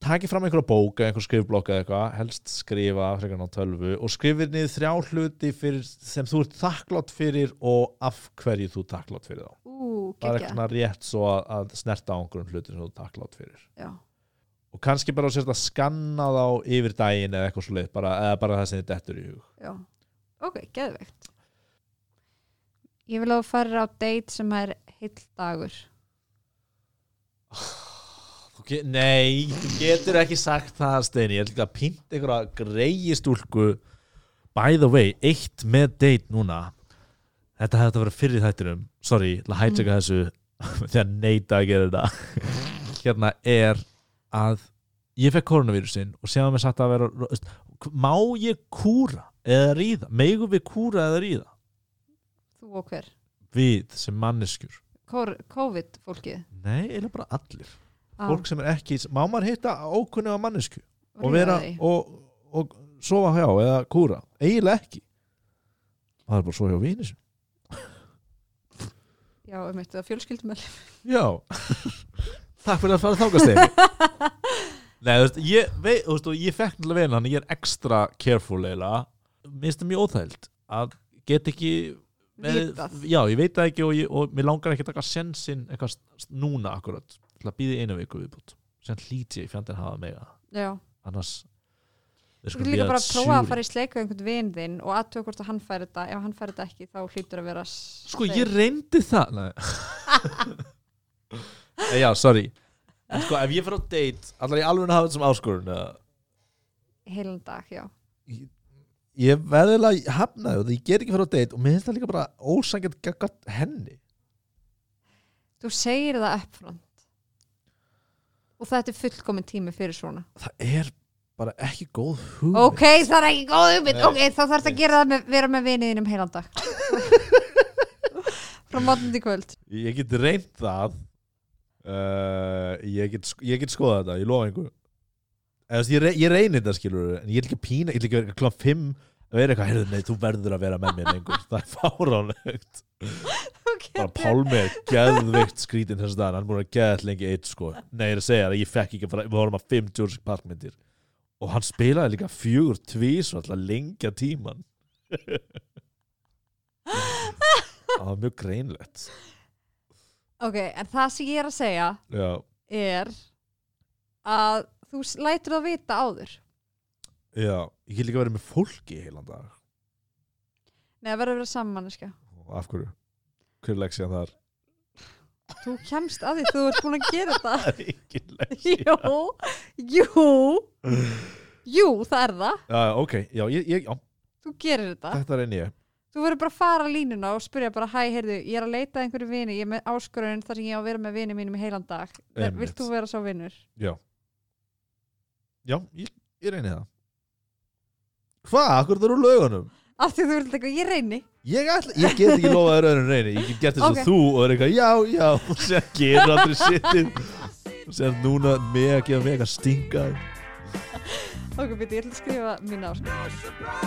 S1: takir fram einhverja bók eða einhver skrifblokk eða eitthvað, helst skrifa frekar ná tölvu og skrifir niður þrjá hluti fyrir, sem þú ert þakklátt fyrir og af hverju þú ert þakklátt fyrir þá
S2: ú,
S1: bara eitthvað
S2: gekkja
S1: svona rétt svo að, að snerta á einhverjum hluti sem þú ert þakklátt fyrir
S2: já,
S1: og kannski bara sérst að skanna þá yfir daginn eða eitthvað svo leið bara, eða bara það sem þið dettur í hug
S2: Já, ok, geðveikt. Ég vil að þú farir á date sem er heill dagur.
S1: okay, Nei, þú getur ekki sagt það Steini, ég ætla ekki að pynta einhverja greiði stúlku By the way, eitt með date núna Þetta hefði þetta verið fyrir þættinum Sorry, ég ætla að hætjaka þessu þegar neita að gera þetta Hérna er að ég fekk koronavírusin og séðan mér satt að vera þú veist, Má ég kúra eða ríða? Megum við kúra eða ríða?
S2: Þú og hver?
S1: Við sem manneskjur
S2: Kor COVID-fólkið.
S1: Nei, eiginlega bara allir
S2: Á,
S1: Fólk sem er ekki, má maður hitta ókunnuga mannesku og
S2: ríða
S1: vera
S2: þig.
S1: og, og sofa hjá eða kúra eiginlega ekki maður er bara að sofa hjá vini sinum
S2: Já, um eitt, það fjölskyldum
S1: Já, takk fyrir að fara þákast þeim Nei, þú veist, ég, vei, þú veist, og ég fekk náttúrulega vel hann, ég er ekstra careful eiginlega, mér finnst það mjög óþægild að get ekki
S2: Vitað.
S1: já, ég veit það ekki og, ég, og mér langar ekki að taka sensin eitthvað s- s- núna akkurat, til að býði einu viku viðbútt sem hlýti ég í fjandinn hafa mig að
S2: já
S1: annars þeir
S2: Þú
S1: skulu
S2: getur líka
S1: bíða
S2: bara að prófa að
S1: sjúri.
S2: fara í sleik við einhvern vin þinn og aðtöku hvort að hann fær þetta ef hann fær þetta ekki þá hlýtur að vera s-
S1: Sko,
S2: safe.
S1: ég reyndi það Nei Eh, Já, sorry En sko, ef ég fer á date, allar ég alveg að hafa þetta sem áskorun eða?
S2: heilan dag, já
S1: Ég verðilega hafnaði og ég ger ekki fyrir á date og mér finnst það líka bara ósangjönd gaggart henni
S2: þú segir það uppfront og þetta er fullkomin tími fyrir svona
S1: Það er bara ekki góð hugmynd
S2: ok, það er ekki góð ummynd
S1: Nei.
S2: ok, þá þarf það
S1: Nei.
S2: að gera það með, vera með viniðinum heilan dag frá mótnum til kvöld
S1: Ég get reynd það uh, ég, get, sk- ég get skoða þetta, ég lofa einhver Eðast, ég, rey, ég reynir þetta skilur en ég vil ekki pína, ég vil ekki vera klán 5 að vera eitthvað, heyrðu, nei, þú verður að vera með mér lengur það er fáránlegt bara Pálmi er geðveikt skrítin þess að hann er búin að geða þetta lengi eitt sko nei, ég er að segja það, ég fekk ekki að fara við vorum að 5 Jurassic Park myndir og hann spilaði líka fjögur tvís og alltaf lengja tíman það var mjög greinlegt
S2: ok, en það sem ég er að segja
S1: já,
S2: er að þú s- lætur það vita áður
S1: já, ég get líka verið með fólki í heilan dag
S2: Nei, það verður að vera sammanniska
S1: Og af hverju, hver legg síðan þar
S2: þú kemst að því, þú ert búin að gera
S1: það
S2: það
S1: er engin legg síðan
S2: Jú, jú Jú, það er það
S1: já, ok, já, ég, ég, já,
S2: Þú gerir þetta
S1: þetta reyni ég
S2: Þú verður bara að fara línuna og spyrja bara Hæ, heyrðu, ég er að leita að einhverju vini Ég er með áskorun þar sem ég á að vera með vini mínum í heilan dag Ver-
S1: Einmitt.
S2: Vilt þú vera sá vinnur?
S1: já, ég, ég reyni það hvað, akkur það eru lögunum
S2: Af því að þú vilt eitthvað, ég reyni
S1: Ég, ætla, ég get ekki lofað þér öðrum reyni Ég get gert þess
S2: Ok.
S1: að þú og það er eitthvað Já, já, og sér gerur aldrei sittið og sér núna mig að gefa mig eitthvað stinga
S2: Ok, byrju, ég ætla að skrifa mín áskorun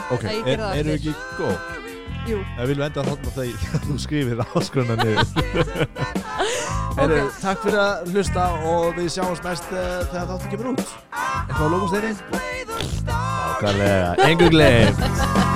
S1: Ok,
S2: Æ, ég gerði
S1: er,
S2: það
S1: erum við
S2: aftur.
S1: ekki góð?
S2: Jú,
S1: Ef við viljum enda að hotna þegar þú skrifir áskrona niður okay. Takk fyrir að hlusta og við sjáumst næst uh, þegar þáttu kemur út Eitthvað á lókumsteinni? Nákvæmlega, engu gleym